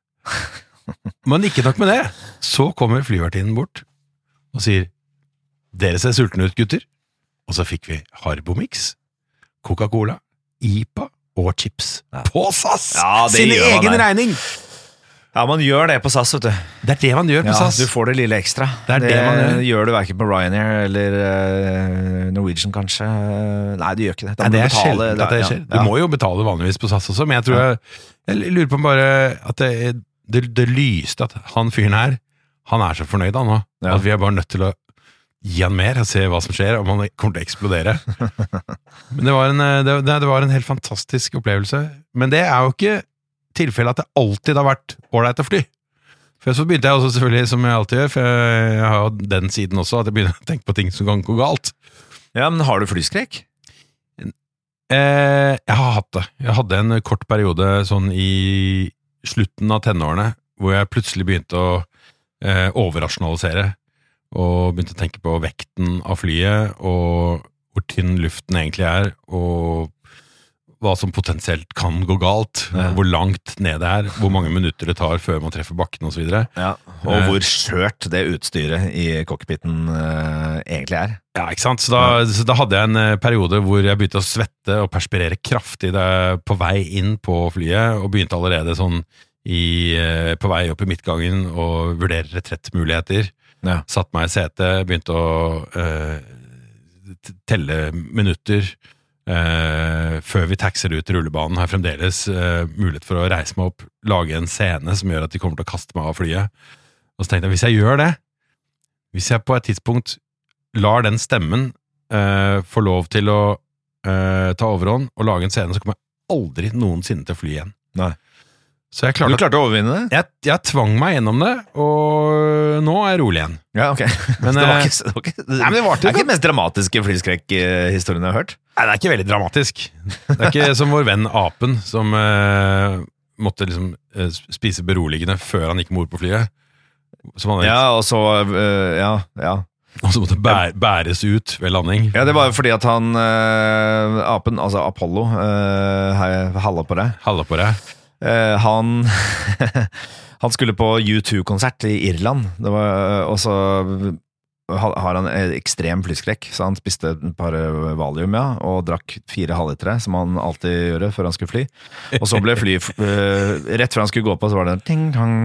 Men ikke nok med det. Så kommer flyvertinnen bort og sier Dere ser sultne ut, gutter. Og så fikk vi Harbomix, Coca-Cola, IPA og chips. Ja. På SAS! Ja, det Sin gjør man, egen det. regning! Ja, man gjør det på SAS, vet du. Det er det man gjør på Ja, SAS. du får det lille ekstra. Det er det man gjør. du verken på Ryanair eller eh, Norwegian, kanskje. Nei, du gjør ikke det. Da må du Nei, det er betale- sjelden at det ja, skjer. Du ja. må jo betale vanligvis på SAS også, men jeg tror jeg, jeg lurer på om bare at det, det, det lyste at han fyren her, han er så fornøyd han nå. Ja. At vi er bare nødt til å gi han mer og se hva som skjer, om han kommer til å eksplodere. men det var, en, eh, det, det det var en helt fantastisk opplevelse. Men det er jo ikke tilfellet at det alltid har vært ålreit å fly. For så begynte jeg også selvfølgelig, som jeg alltid gjør, for jeg jeg har jo den siden også, at jeg begynner å tenke på ting som kan gå galt. ja, men har du flyskrekk? Eh, jeg har hatt det. Jeg hadde en kort periode sånn i slutten av tenårene hvor jeg plutselig begynte å eh, overrasjonalisere og begynte å tenke på vekten av flyet og hvor tynn luften egentlig er, og hva som potensielt kan gå galt, Ja. hvor langt ned det er, hvor mange minutter det tar før man treffer bakken osv. Ja. Og Eh. hvor skjørt det utstyret i cockpiten eh, egentlig er. Ja, ikke sant? Så da, så da hadde jeg en eh, periode hvor jeg begynte å svette og perspirere kraftig da jeg- på vei inn på flyet, og begynte allerede sånn i, eh, på vei opp i midtgangen og vurdere retrettmuligheter. Ja. Satt meg i setet, begynte å eh, t- telle minutter. Eh, før vi taxer ut til rullebanen, har jeg fremdeles eh, mulighet for å reise meg opp, lage en scene som gjør at de kommer til å kaste meg av flyet. Og så tenkte jeg, hvis jeg gjør det, hvis jeg på et tidspunkt lar den stemmen eh, få lov til å eh, ta overhånd og lage en scene, så kommer jeg aldri noensinne til å fly igjen. Nei. Så jeg Du klarte at klarte å overvinne det? jeg, jeg tvang meg gjennom det, og nå er jeg rolig igjen. Ja, ok. Men, det var eh, ikke, det var ikke, det, Nei, men det varte er jo ikke den mest dramatiske flyskrekkhistorien jeg har hørt. Nei, det er ikke veldig dramatisk. Det er ikke som vår venn apen, som eh, måtte liksom eh, spise beroligende før han gikk mor på flyet. Som han, Ja, og så eh, Ja, ja. Og så måtte bæ bæres ut ved landing. Ja, det var jo fordi at han eh, Apen, altså Apollo eh, hei- Halla på deg. Halla på deg. Eh, han Han skulle på U2-konsert i Irland, det var, eh, og så ha- har han eh, ekstrem flyskrekk, så han spiste et par eh, Valium ja, og drakk fire halvlitere, som han alltid gjorde før han skulle fly. Og så ble flyet f- eh, Rett før han skulle gå på, så var det ting-tang.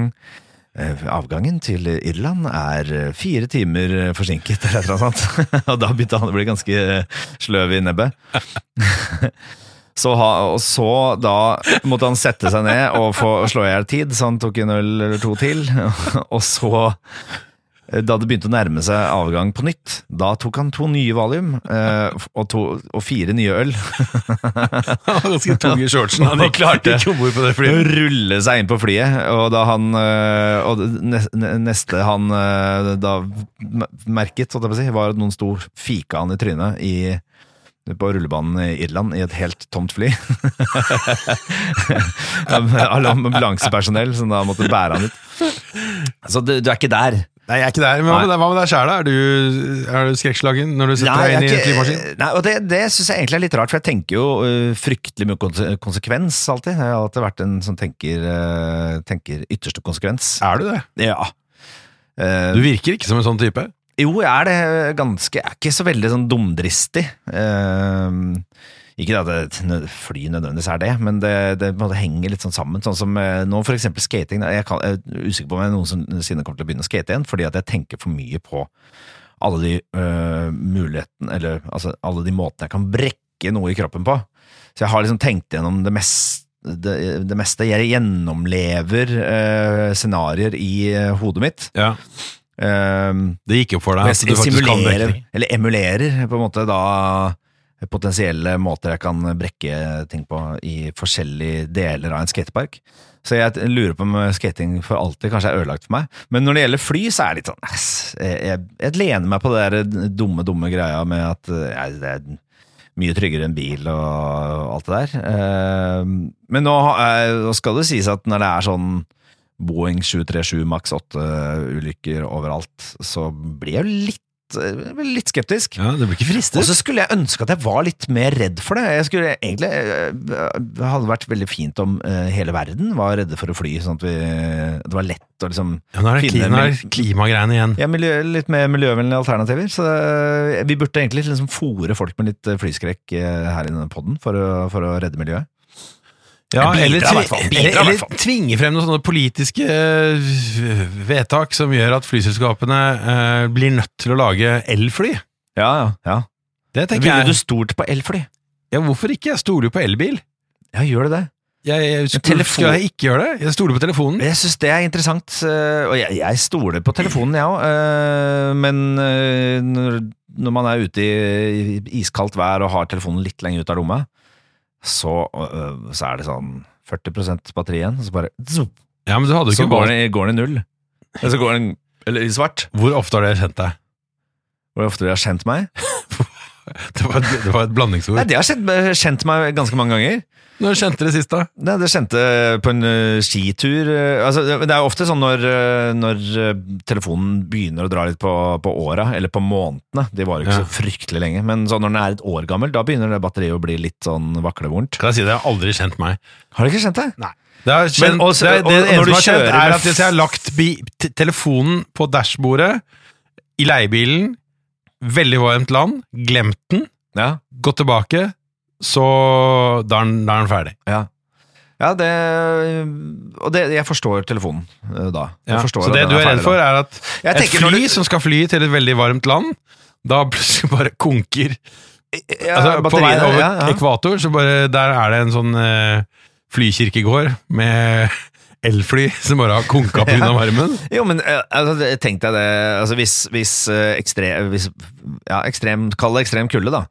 Eh, Avgangen til Irland er eh, fire timer eh, forsinket, eller et eller annet sånt. Og da begynte han å bli ganske eh, sløv i nebbet. Så ha, og så da måtte han sette seg ned og få slå i hjel tid, så han tok en øl eller to til. Og så, eh, da det begynte å nærme seg avgang på nytt, da tok han to nye valium eh, og, to, og fire nye øl. Han var ganske tung i shortsen. Han Han klarte ikke om bord på det flyet. Rulle seg inn på flyet, og da han eh, Og nes- ne- neste han eh, da merket, holdt jeg på å si, var at noen sto og fika han i trynet i på rullebanen i Irland i et helt tomt fly. Alle ambulansepersonell som da måtte bære han ut. Så du, du er ikke der. Nei, jeg er ikke der. Men hva med deg- hva med deg sjæl, da? Er du, er du skrekkslagen når du setter deg inn i jeg en er flymaskin? ikke- Nei, og det, det syns jeg egentlig er litt rart, for jeg tenker jo øh, fryktelig mye konse- konsekvens alltid. Jeg har alltid vært en som tenker, øh, tenker ytterste konsekvens. Er du det? Ja. Eh, Du virker ikke som en sånn type. Jo, jeg er det ganske Jeg er ikke så veldig sånn dumdristig. Eh, ikke at det- nø- fly nødvendigvis er det, men det, det på en måte henger litt sånn sammen. Sånn som eh, nå for eksempel skating. Jeg, kan, jeg er usikker på om jeg noensinne kommer til å begynne å skate igjen, fordi at jeg tenker for mye på alle de eh, mulighetene, eller altså alle de måtene jeg kan brekke noe i kroppen på. Så jeg har liksom tenkt gjennom det meste. Det, det meste. Jeg gjennomlever eh, scenarioer i eh, hodet mitt. Ja, Eh, det gikk opp for deg. og at du jeg faktisk kan simulerer, dekning. eller emulerer, på en måte da potensielle måter jeg kan brekke ting på i forskjellige deler av en skatepark. Så jeg lurer på om eh, skating for alltid kanskje er ødelagt for meg. Men når det gjelder fly, så er det litt sånn ass, jeg, jeg, jeg lener meg på det der dumme, dumme greia med at eh, jeg, det er mye tryggere enn bil og alt det der. Eh, Men nå eh, nå skal det sies at når det er sånn Boeing 737 maks 8-ulykker overalt, så blir jeg jo litt, eh, litt skeptisk. Ja, det blir ikke Og fristet. så skulle jeg ønske at jeg var litt mer redd for det. Jeg skulle egentlig, eh, Det hadde vært veldig fint om eh, hele verden var redde for å fly, sånn at vi, det var lett å liksom Ja, nå er det finne klima, min- klimagreiene igjen. ja, miljø, litt mer miljøvennlige alternativer. Så eh, vi burde egentlig liksom fòre folk med litt eh, flyskrekk eh, her i denne podden for å, for å redde miljøet. Ja, Bidra, eller, i hvert tvi- fall. Bidra, i eller, hvert eller tvinge frem noen sånne politiske eh, vedtak som gjør at flyselskapene eh, blir nødt til å lage elfly. Ja, ja. ja. Det tenker Ville du jeg. stolt på elfly? Ja, hvorfor ikke? Jeg stoler jo på elbil. Ja, gjør du det? Jeg, jeg, skulle, telefon- skulle jeg ikke gjøre det? Jeg stoler på telefonen. Mm. Jeg syns det er interessant, eh, og jeg, jeg stoler på telefonen, jeg òg. Men eh, når, når man er ute i i iskaldt vær og har telefonen litt lenger ut av rommet, så, eh, så er det sånn 40 batteri igjen, og så bare zoom, Ja, men du hadde jo Så ikke går valgt. den, i- går den i null. Eller så går den eller i svart. Hvor ofte har dere kjent deg? Hvor ofte de har kjent meg? Det var, et- det var et Nei, blandingsord. De har kjent, kjent meg ganske mange ganger. Når kjente dere sist, da? Nei, det kjente på en ø, skitur ø, altså, Det det er ofte sånn når, ø, når ø, telefonen begynner å dra litt på, på åra, eller på månedene. De varer jo ikke Ja. så fryktelig lenge. Men sånn når den er et år gammel, da begynner det batteriet å bli litt sånn vaklevorent. Kan jeg si det? Jeg har aldri kjent meg. Har du ikke kjent det? Det, er kjent, Men også- det, er- det og- og når eneste du som har skjedd, kjører er med at hvis jeg har lagt bi t telefonen på dashbordet i leiebilen, veldig varmt land, glemt den, Ja. gått tilbake, så da er den, da er den ferdig. ja det, og det, jeg forstår telefonen ø, da. Jeg Ja. forstår Så at det den du er ferdig redd da. for, er at Jeg et tenker når fly du- som skal fly til et veldig varmt land, da plutselig bare konker ja, altså, På veien batteriene, over ja, ja. ekvator, så bare der er det en sånn eh, flykirkegård med elfly som bare har konka pga. Ja. varmen. Jo, men eh, altså, det- tenk deg det altså, Hvis, hvis, eh, ekstre- hvis ja, ekstrem, Kall det ekstrem kulde, da.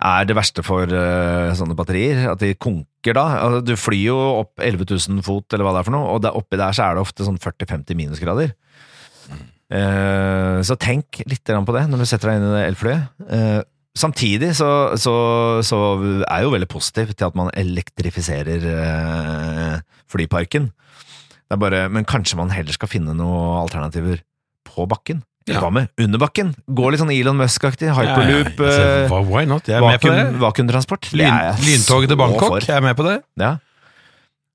Er det verste for eh, sånne batterier. At de konker da. Altså, du flyr jo opp 11 000 fot, eller hva det er for noe, og der, oppi der så er det ofte sånn 40-50 minusgrader. Eh, så tenk litt grann på det når du setter deg inn i det elflyet. Eh, Samtidig så, så, så er jeg jo veldig positiv til at man elektrifiserer eh, flyparken. Det er bare, men kanskje man heller skal finne noen alternativer på bakken. Eller Ja. hva med under bakken? Gå litt sånn Elon Musk-aktig, hyperloop, Ja, ja, ja. eh, Altså, why- Why not? Jeg er med på vakuum, det. vakuumtransport. Det Lyn, er jeg lyntog til så Bangkok, for. jeg er med på det. Ja.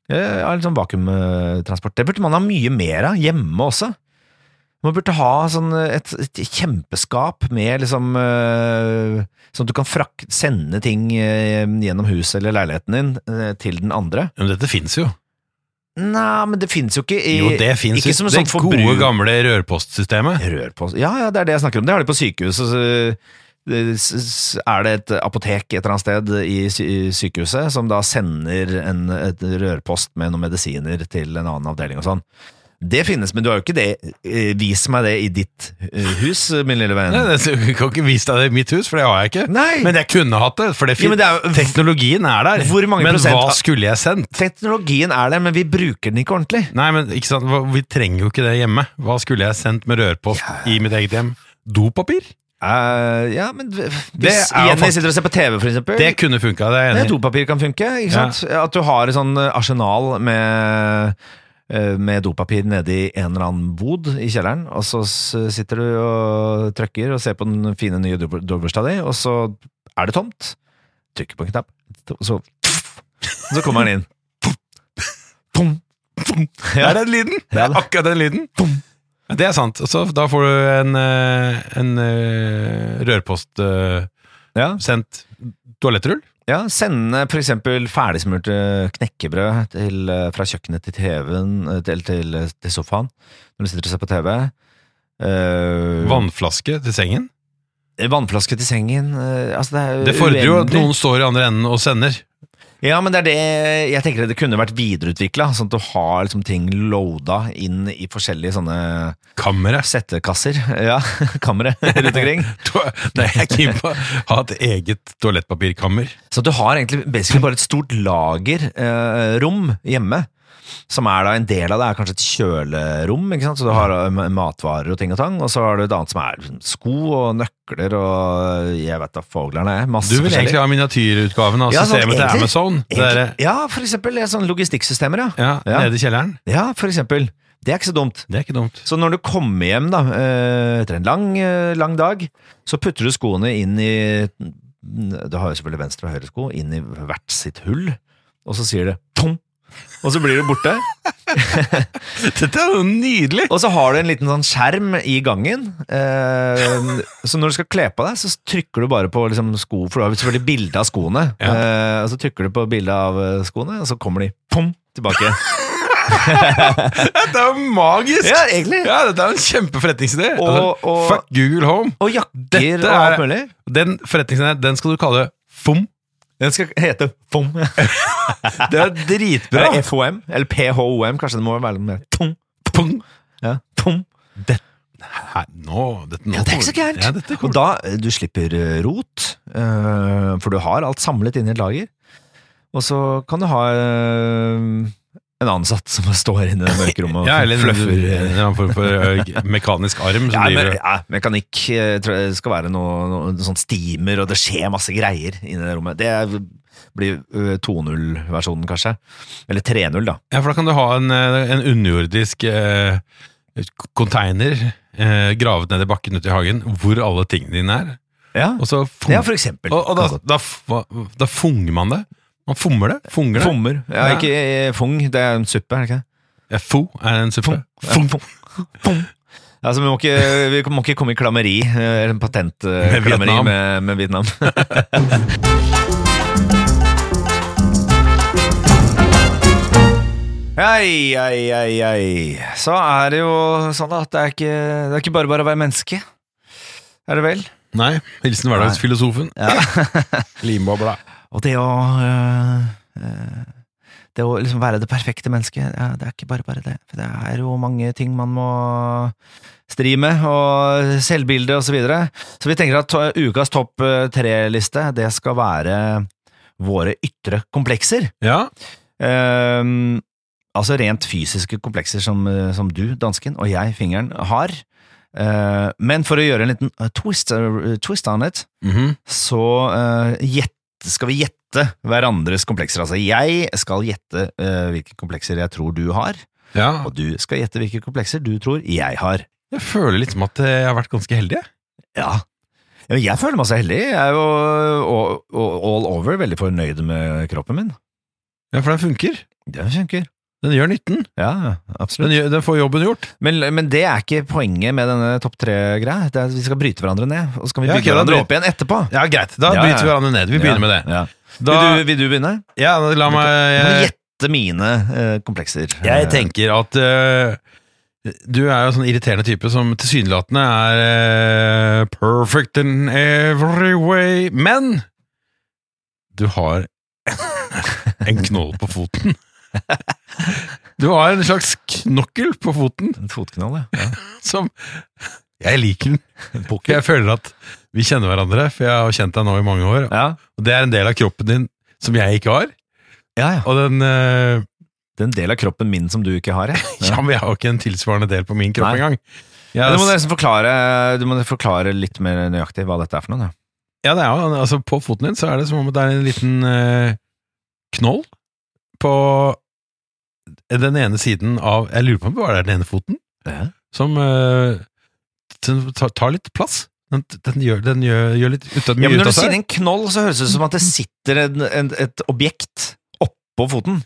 Eh, ja, litt sånn vakuumtransport. Det burde man ha mye mer av hjemme også. Man burde ha sånn et, et kjempeskap med liksom eh, Sånn at du kan frak sende ting eh, gjennom huset eller leiligheten din eh, til den andre. Ja, Men dette fins jo. Nei, men det fins jo ikke i Jo, det fins ikke jo. som Det sånn gode, forbruk- gamle rørpostsystemet. Rørpose Ja, ja, det er det jeg snakker om. Det har de på sykehuset. Så, eh, s- s- er det et apotek et eller annet sted i sy- i sykehuset som da sender en et rørpost med noen medisiner til en annen avdeling og sånn? Det finnes, men du har jo ikke det. eh, Vis meg det i ditt eh, hus, min lille venn. Nei, det- Jeg kan ikke vise deg det i mitt hus, for det har jeg ikke. Nei. Men jeg kunne hatt det, for det Jo, fin men det er jo- teknologien er der. Hvor mange men prosent hva av- skulle jeg sendt? Teknologien er der, men vi bruker den ikke ordentlig. Nei, men ikke sant? hva- Vi trenger jo ikke det hjemme. Hva skulle jeg sendt med rørpost i mitt eget hjem? Dopapir? Eh, ja, men v- hvis er jo Jenny fakt- sitter og ser på TV, for eksempel Det kunne funka, det er jeg Nei, enig i. dopapir kan funke, ikke Ja. sant? At du har et sånn eh, arsenal med, eh, med dopapir nede i en eller annen bod i kjelleren, og så s- sitter du og trykker og ser på den fine nye dob- dobbelsta di, og så er det tomt. Trykker på en knapp, og så, så kommer den inn. Pum, pum. Er det den lyden? Det er akkurat den lyden. Ja, Det er sant. Så da får du en, eh, en eh, rørpost eh, Ja, sendt toalettrull. ja Sende f.eks. ferdigsmurte eh, knekkebrød til, eh, fra kjøkkenet til TV-en, eh, til, til, til sofaen, når du sitter og ser på TV. Eh, Vannflaske til sengen. Vannflaske til sengen. eh, altså det er Det fordrer jo at uendelig. noen står i andre enden og sender. Ja, men det er det jeg tenker det kunne vært videreutvikla. Sånn at du har liksom ting loada inn i forskjellige sånne Kamera. settekasser. Ja, kamre rundt omkring. To- Nei, jeg er keen på å ha et eget toalettpapirkammer. Så du har egentlig basically bare et stort lagerrom hjemme. Som er da en del av det, er kanskje et kjølerom. ikke sant? Så du har eh, matvarer og ting og tang. Og så har du et annet som er sko og nøkler og eh, jeg vet da foglerne er. Masse Du vil forskjellig. egentlig ha miniatyrutgaven av Ja, sånn systemet til egentlig- Amazon. Det derre- Ja, for eksempel eh, sånne logistikksystemer, ja. ja, Ja. Nede i kjelleren. Ja, for eksempel. Det er ikke så dumt. Det er ikke dumt. Så når du kommer hjem da, eh, etter en lang, eh, lang dag, så putter du skoene inn i Du har jo selvfølgelig venstre og høyre sko, inn i hvert sitt hull, og så sier det tom! Og så blir du borte. Dette er jo nydelig! Og så har du en liten sånn skjerm i gangen. Eh, så når du skal kle på deg, så trykker du bare på liksom, sko, for du har jo selvfølgelig bilde av skoene. Ja. Eh, og så trykker du på bilde av eh, skoene, og så kommer de pom tilbake. Dette er jo magisk! Ja, egentlig. Ja, dette er jo en kjempeforretningsidé. Og- Altså, og- fuck Google Home. Og jakker Dette og alt er- mulig. Den forretningsideen den skal du kalle FOM. Den skal hete pom. Det er dritbra. Eller FOM, eller PHOM, kanskje det må være noe mer tung, Pong. ja, tung. Nei, nå, dette, nå Ja, det er ikke så gærent. Ja, dette Og kommer- da, eh, du slipper eh, rot, eh, for du har alt samlet inn i et lager, og så kan du ha eh, en ansatt som bare står inne i det mørke rommet og ja, eller en- fluffer. en eh. eller annen form for ø, mekanisk arm som Ja, men, driver ja, mekanikk eh, tror jeg det skal være noe, noe sånn steamer, og det skjer masse greier inne i det rommet. Det er- blir eh, 2.0-versjonen, kanskje. Eller 3.0, da. Ja, for da kan du ha en, eh, en underjordisk eh, container eh, gravet ned i bakken ute i hagen, hvor alle tingene dine er. Ja, Og så fung- ja for eksempel. og, og Kan da, godt da, f- hva- da funger man det. Man fommer det. Funger det. Fommer. Ja, Ja. ikke eh, fung, det er en suppe, er det ikke det? Ja, fo er en suppe. Fung, fung, fung. Altså, vi må ikke, vi må ikke komme i klammeri, eh, eller en Med patentklammeri Vietnam. med, med Vietnam. Ei, ei, ei, ei. Så er det jo sånn da, at det er ikke, det er ikke bare bare å være menneske. Er det vel? Nei. Hilsen hverdagsfilosofen. Ja. Limbobla. Og det å øh, øh, Det å liksom være det perfekte mennesket, ja, det er ikke bare bare det. For det er jo mange ting man må stri med, og selvbilde og så videre. Så vi tenker at to- ukas topp øh, tre-liste, det skal være våre ytre komplekser. Ja. Ehm, altså rent fysiske komplekser som, øh, som du, dansken, og jeg, fingeren, har. Eh, men for å gjøre en liten øh, twist, øh, twist on it, Mhm. så eh, gjett- skal vi gjette hverandres komplekser. Altså, jeg skal gjette eh, hvilke komplekser jeg tror du har, ja. og du skal gjette hvilke komplekser du tror jeg har. Jeg føler litt som at jeg har vært ganske heldig. jeg. Ja. Ja, men Jeg føler meg så heldig. Jeg er jo og- og- all over veldig fornøyd med kroppen min. Ja, For den funker. Det funker. Den gjør nytten. Ja, Den, absolutt. gjør, den får jobben gjort. Men, men det er ikke poenget med denne topp tre-greia. Det er at Vi skal bryte hverandre ned, og så kan vi Ja, bygge ok, da hverandre bryt- opp igjen etterpå. Ja, Greit, da Ja, ja. bryter vi hverandre ned. Vi begynner med det. Ja. Da, vil, du, vil du begynne? ja, la meg Du må jeg, gjette mine eh, komplekser. jeg tenker at eh, du er jo en sånn irriterende type som tilsynelatende er eh, perfect in every way, men du har en knoll på foten. Du har en slags knokkel på foten En fotknall, ja. som Jeg liker den. Jeg føler at vi kjenner hverandre, for jeg har kjent deg nå i mange år. Ja, Og det er en del av kroppen din som jeg ikke har. ja, ja. Og den eh, Det er en del av kroppen min som du ikke har, jeg. Ja, men jeg har ikke en tilsvarende del på min kropp Nei. engang. Jeg, Ja, du, må nesten forklare, du må forklare litt mer nøyaktig hva dette er for noe. Da. ja, det er jo, altså På foten din så er det som om det er en liten eh, knoll på den ene siden av Jeg lurer på om det bare er den ene foten Ja. som eh, den tar, tar litt plass. Den, den, gjør, den gjør, gjør litt ut Ja, av, mye men ut når av du sier seg. en knoll, så høres det ut som at det sitter en, en, et objekt oppå foten.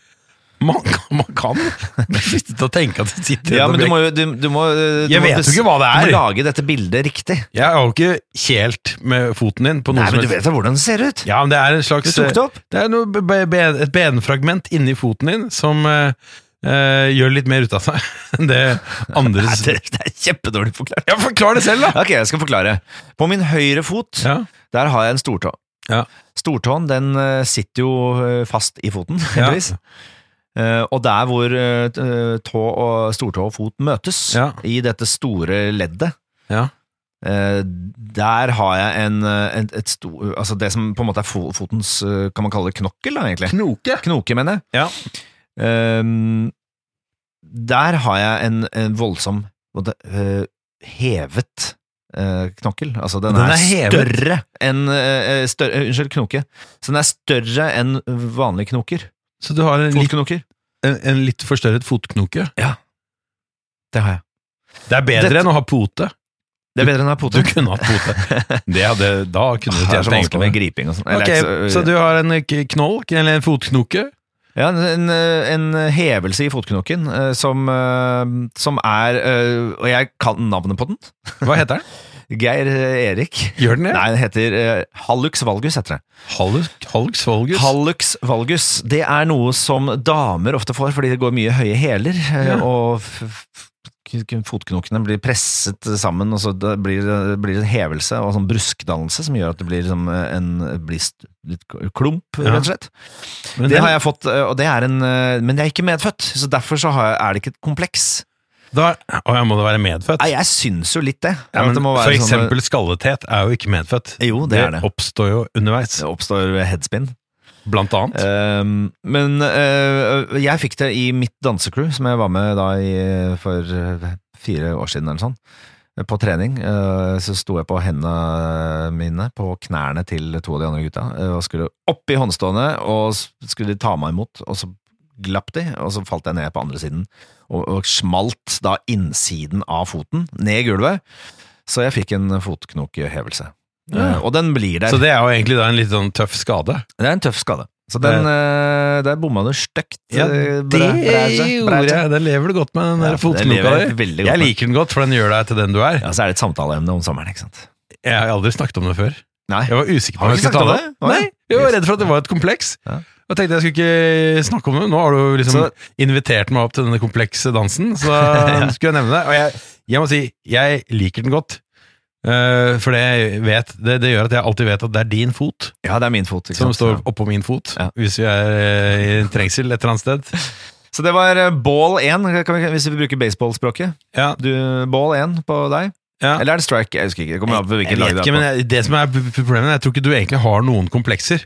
Man kan, man kan bli fristet til å tenke at det sitter Ja, et men du objekt- må jo du, du må, du Jeg må vet jo bes- ikke hva det Du er. må lage dette bildet riktig. Jeg har jo ikke kjelt med foten din på noe Nei, som men du vet da hvordan det ser ut! Ja, men det er en Du slags tok det opp! Det er noe, be- be- et benfragment inni foten din som eh, eh, gjør litt mer ut av seg enn det andre Nei, det, det er kjempedårlig forklart. Ja, forklar det selv, da! Ok, jeg skal forklare. På min høyre fot, Ja, der har jeg en stortå. Ja. Stortåen, den eh, sitter jo eh, fast i foten, heldigvis. Eh, og der hvor eh, t- eh, tå og stortå og fot møtes, Ja. i dette store leddet, Ja. eh, der har jeg en, eh, en et stor, altså det som på en måte er fo- fotens, eh, kan man kalle det knokkel da, egentlig? Knoke. Knoke, mener jeg. Ja. Ehm, der har jeg en, en voldsom på en måte, øh, hevet øh, knokkel. Altså, den, er, Den er hevet? større enn øh, større, øh, Unnskyld, knoke. Så den er større enn vanlige knoker. Så du har en litt, Fotknoker. en, en litt forstørret fotknoke? Det har jeg. Det er bedre Dette- enn å ha pote. Det er bedre enn å ha Du pote. kunne hatt pote. Det hadde, da Åh, kunne du Det er så tjent penger vanskelig på med det. griping og sånn. Eller Ok, ikke så- så du har en eh, k- knoll, eller en fotknoke? Ja, en, en hevelse i fotknoken øh, som, øh, som er øh, Og jeg kan navnet på den. Hva heter den? Geir øh, Erik. Gjør den det? Nei, den heter øh, Hallux valgus, heter det. Hallux, Hallux Volgus? Hallux valgus, det er noe som damer ofte får fordi det går mye høye hæler, eh, Ja. og f- f- k- fotknokene blir presset sammen, og så det blir det blir en hevelse og sånn bruskdannelse som gjør at det blir, som en, blir st- litt klump, Ja. rett og slett. Men det den- har jeg fått, eh, og det er en, eh, men det er ikke medfødt, så derfor så har jeg, er det ikke et kompleks. da, Å ja, må det være medfødt? Nei, jeg syns jo litt det. Ja, at men det må for være sånn- eksempel skallethet er jo ikke medfødt. Jo, det er det. oppstår jo underveis, Det oppstår headspin. blant annet. Ehm, men eh, jeg fikk det i mitt dansecrew, som jeg var med da i, for eh, fire år siden eller sånn. På trening eh, så sto jeg på hendene mine, på knærne til to av de andre gutta, eh, og skulle opp i håndstående, og s- skulle de ta meg imot, og så glapp de, og så falt jeg ned på andre siden, og, og smalt da innsiden av foten ned i gulvet. Så jeg fikk en fotknokehevelse. Ja. Eh, og den blir der. Så det er jo egentlig da en litt sånn tøff skade. Det er en tøff skade. Så den, eh, der bomma du stygt. eh, bra- bræsje, bræsje. Det lever du godt med, den Ja, der det fotknoka lever jeg di. veldig godt Jeg med. liker den godt, for den gjør deg til den du er. Ja, så er det et samtaleemne om sommeren, ikke sant. Jeg har aldri snakket om det før. Nei. Jeg var usikker på Har om du jeg ikke skulle ta det. snakket om det? Nei, jeg var redd for at det var et kompleks. Ja. Og tenkte jeg skulle ikke snakke om det. Nå har du liksom Så- invitert meg opp til denne komplekse dansen, så skulle jeg nevne det. Og jeg, jeg må si, jeg liker den godt. Eh, for det, jeg vet, det, det gjør at jeg alltid vet at det er din fot Ja, det er min fot. Ikke som sant? står oppå min fot, Ja. hvis vi er eh, i en trengsel et eller annet sted. Så det var eh, ball én, kan vi- hvis vi bruker baseballspråket. Ja, Du, Ball én på deg. Ja. Eller er det strike? Jeg husker ikke. Det kommer an på hvilket jeg lag vet det ikke, men er på. jeg, det som er p- problemet, jeg tror ikke du egentlig har noen komplekser.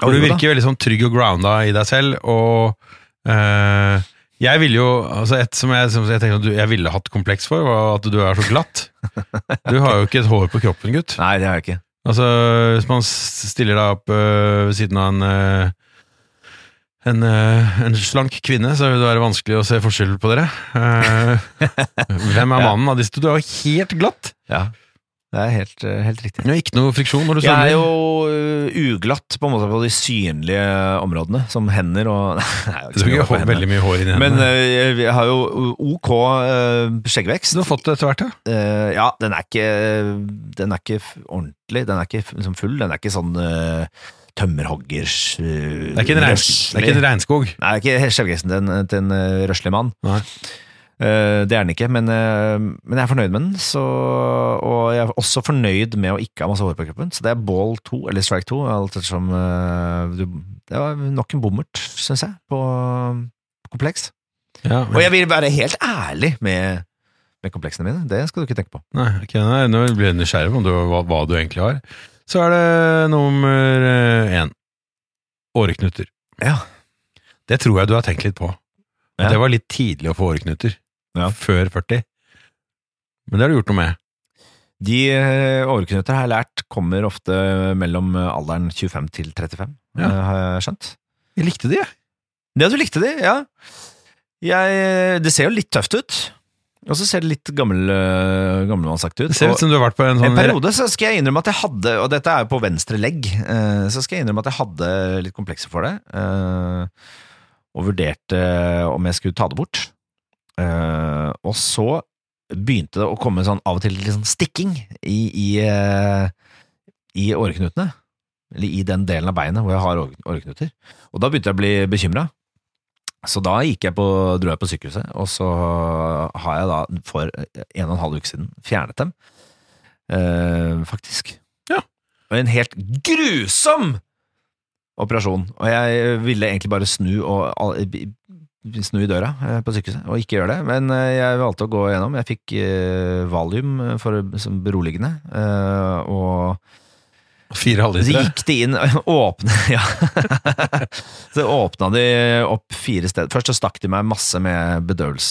Jo For du da. virker veldig sånn trygg og grounda i deg selv, og eh, jeg ville jo altså Et som jeg, som jeg tenkte at du, jeg ville hatt kompleks for, var at du er så glatt. Du har jo ikke et hår på kroppen, gutt. Nei, det har jeg ikke. Altså, hvis man s- stiller deg opp øh, ved siden av en øh, en, øh, en slank kvinne, så vil det være vanskelig å se forskjell på dere. Eh, hvem er Ja. mannen av disse to? Du er jo helt glatt! Ja. Det er helt, eh, helt riktig. Det er ikke noe friksjon når du Jeg er svømmer. jo eh, uglatt på en måte på de synlige områdene, som hender og Nei, jeg har Du så har mye ikke på hår- hendene. veldig mye hår inni Men hendene. eh, jeg har jo ok eh, skjeggvekst. du har fått det etter hvert, ja. Eh, ja, den er ikke Den er ikke f- ordentlig. Den er ikke f- liksom full. Den er ikke sånn uh, tømmerhoggers eh, Det er ikke en, regns, det er røslig- ikke en regnskog. Nei, det er ikke skjevgressen til en, til en eh, røslig mann. Nei. Eh, det er den ikke, men, eh, men jeg er fornøyd med den. Så, og jeg er også fornøyd med å ikke ha masse hår på kroppen. Så det er ball to, eller strike to. Alt ettersom eh, du, Det var nok en bommert, syns jeg, på på kompleks. Ja, Og men, jeg vil være helt ærlig med, med kompleksene mine. Det skal du ikke tenke på. nei, ok, nei, nå blir jeg nysgjerrig på om du, hva, hva du egentlig har. Så er det nummer øh, én. Åreknuter. Ja. Det tror jeg du har tenkt litt på. Ja. Det var litt tidlig å få åreknuter. Ja. Før 40. Men det har du gjort noe med. De eh, overknuter har jeg lært kommer ofte mellom eh, alderen 25 til 35, Ja. eh, har jeg skjønt. Jeg likte de, jeg. Ja, du likte de, ja. Jeg, det ser jo litt tøft ut. Og så ser det litt gammel, eh, gammelmannsaktig ut. Det ser ut som du har vært på en og sånn en periode så skal jeg innrømme at jeg hadde, og dette er jo på venstre legg, eh, så skal jeg innrømme at jeg hadde litt komplekser for det. eh, og vurderte om jeg skulle ta det bort. Eh, og så begynte det å komme sånn av og til litt sånn stikking i, i, eh, i åreknutene. Eller i den delen av beinet hvor jeg har åre- åreknuter. Og da begynte jeg å bli bekymra. Så da gikk jeg på, dro jeg på sykehuset, og så har jeg da for en og en halv uke siden fjernet dem. Eh, faktisk. Ja. Og en helt grusom operasjon. Og jeg ville egentlig bare snu, og, al- b- b- snu i døra eh, på sykehuset og ikke gjøre det, men eh, jeg valgte å gå gjennom. Jeg fikk eh, valium for, som beroligende, eh, og Fire så halvlitere. gikk de inn åpne, ja. Så åpna de opp fire steder. Først så stakk de meg masse med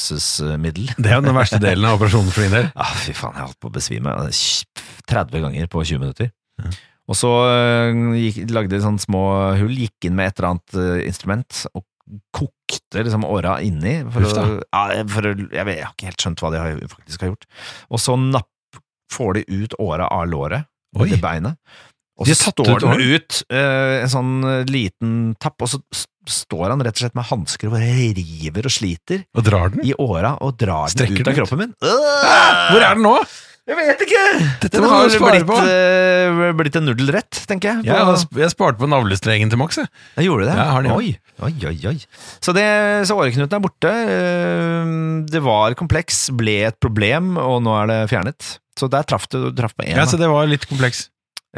bedøvelsesmiddel. Det er jo den verste delen av operasjonen for din del. Ah, fy faen, jeg holdt på å besvime 30 ganger på 20 minutter. Ja. Og så eh, gikk, lagde de sånne små hull, gikk inn med et eller annet eh, instrument og kokte liksom åra inni. For Uff å, da. ja, eh, for å, jeg, vet, jeg har ikke helt skjønt hva de har, faktisk har gjort. Og så napp, får de ut åra av låret Oi. til beinet. Og De så har tatt står ut den ut, eh, en sånn eh, liten tapp, og så s- står han rett og slett med hansker og bare river og sliter Og drar den? i åra og drar Strekker den ut den av ut? kroppen min. Hæ? Hvor er den nå? Jeg vet ikke! Dette Den må har du spare blitt, på. eh, blitt en nudelrett, tenker jeg. på- Jeg, har sp- jeg sparte på navlestrengen til Max, jeg. Ja, gjorde du det? Ja, jeg har den, ja. oi, oi, oi, oi. Så, det, så åreknuten er borte. Eh, Det var kompleks, ble et problem, og nå er det fjernet. Så der traff du du traff på én. Ja, så det var litt kompleks. Mm, da.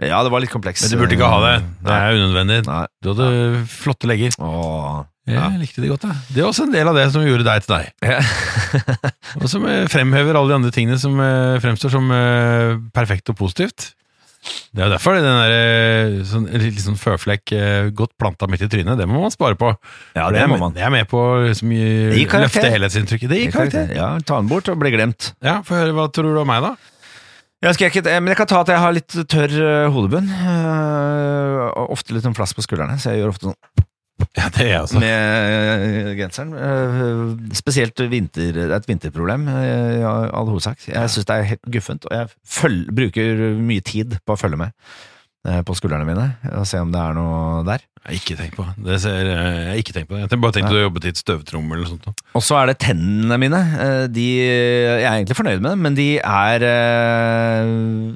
Ja, det var litt kompleks. Men du burde ikke ha det. Det Nei. er unødvendig. Nei. Du hadde flotte legger. Åh. Ja. Jeg likte det godt, jeg. Det er også en del av det som gjorde deg til deg. Ja. Og som eh, fremhever alle de andre tingene som eh, fremstår som eh, perfekt og positivt. Det er jo derfor den der eh, sånn, litt sånn føflekk eh, godt planta midt i trynet, det må man spare på. ja, er det må med- man. Det er med på å liksom, Det gir gi- karakter. løfte helhetsinntrykket. Det gir karakter. Ja, ta den bort og bli glemt. Ja, Få høre, hva tror du om meg, da? Jeg skal ikke, eh, men jeg kan ta at jeg har litt tørr eh, hodebunn. eh, og Ofte litt sånn flass på skuldrene, så jeg gjør ofte sånn Ja, det er jeg også. med eh, genseren. Eh, Spesielt vinter, det er et vinterproblem, eh, i all hovedsak. Jeg syns det er helt guffent, og jeg føl- bruker mye tid på å følge med eh, på skuldrene mine og se om det er noe der. Jeg har ikke tenkt på det. Ser, eh, jeg har ikke tenkt på det. Jeg tenkte- bare tenkte du jobbet i et støvtrommel eller noe sånt. da. Og så er det tennene mine. Eh, De, jeg er egentlig fornøyd med dem, men de er eh,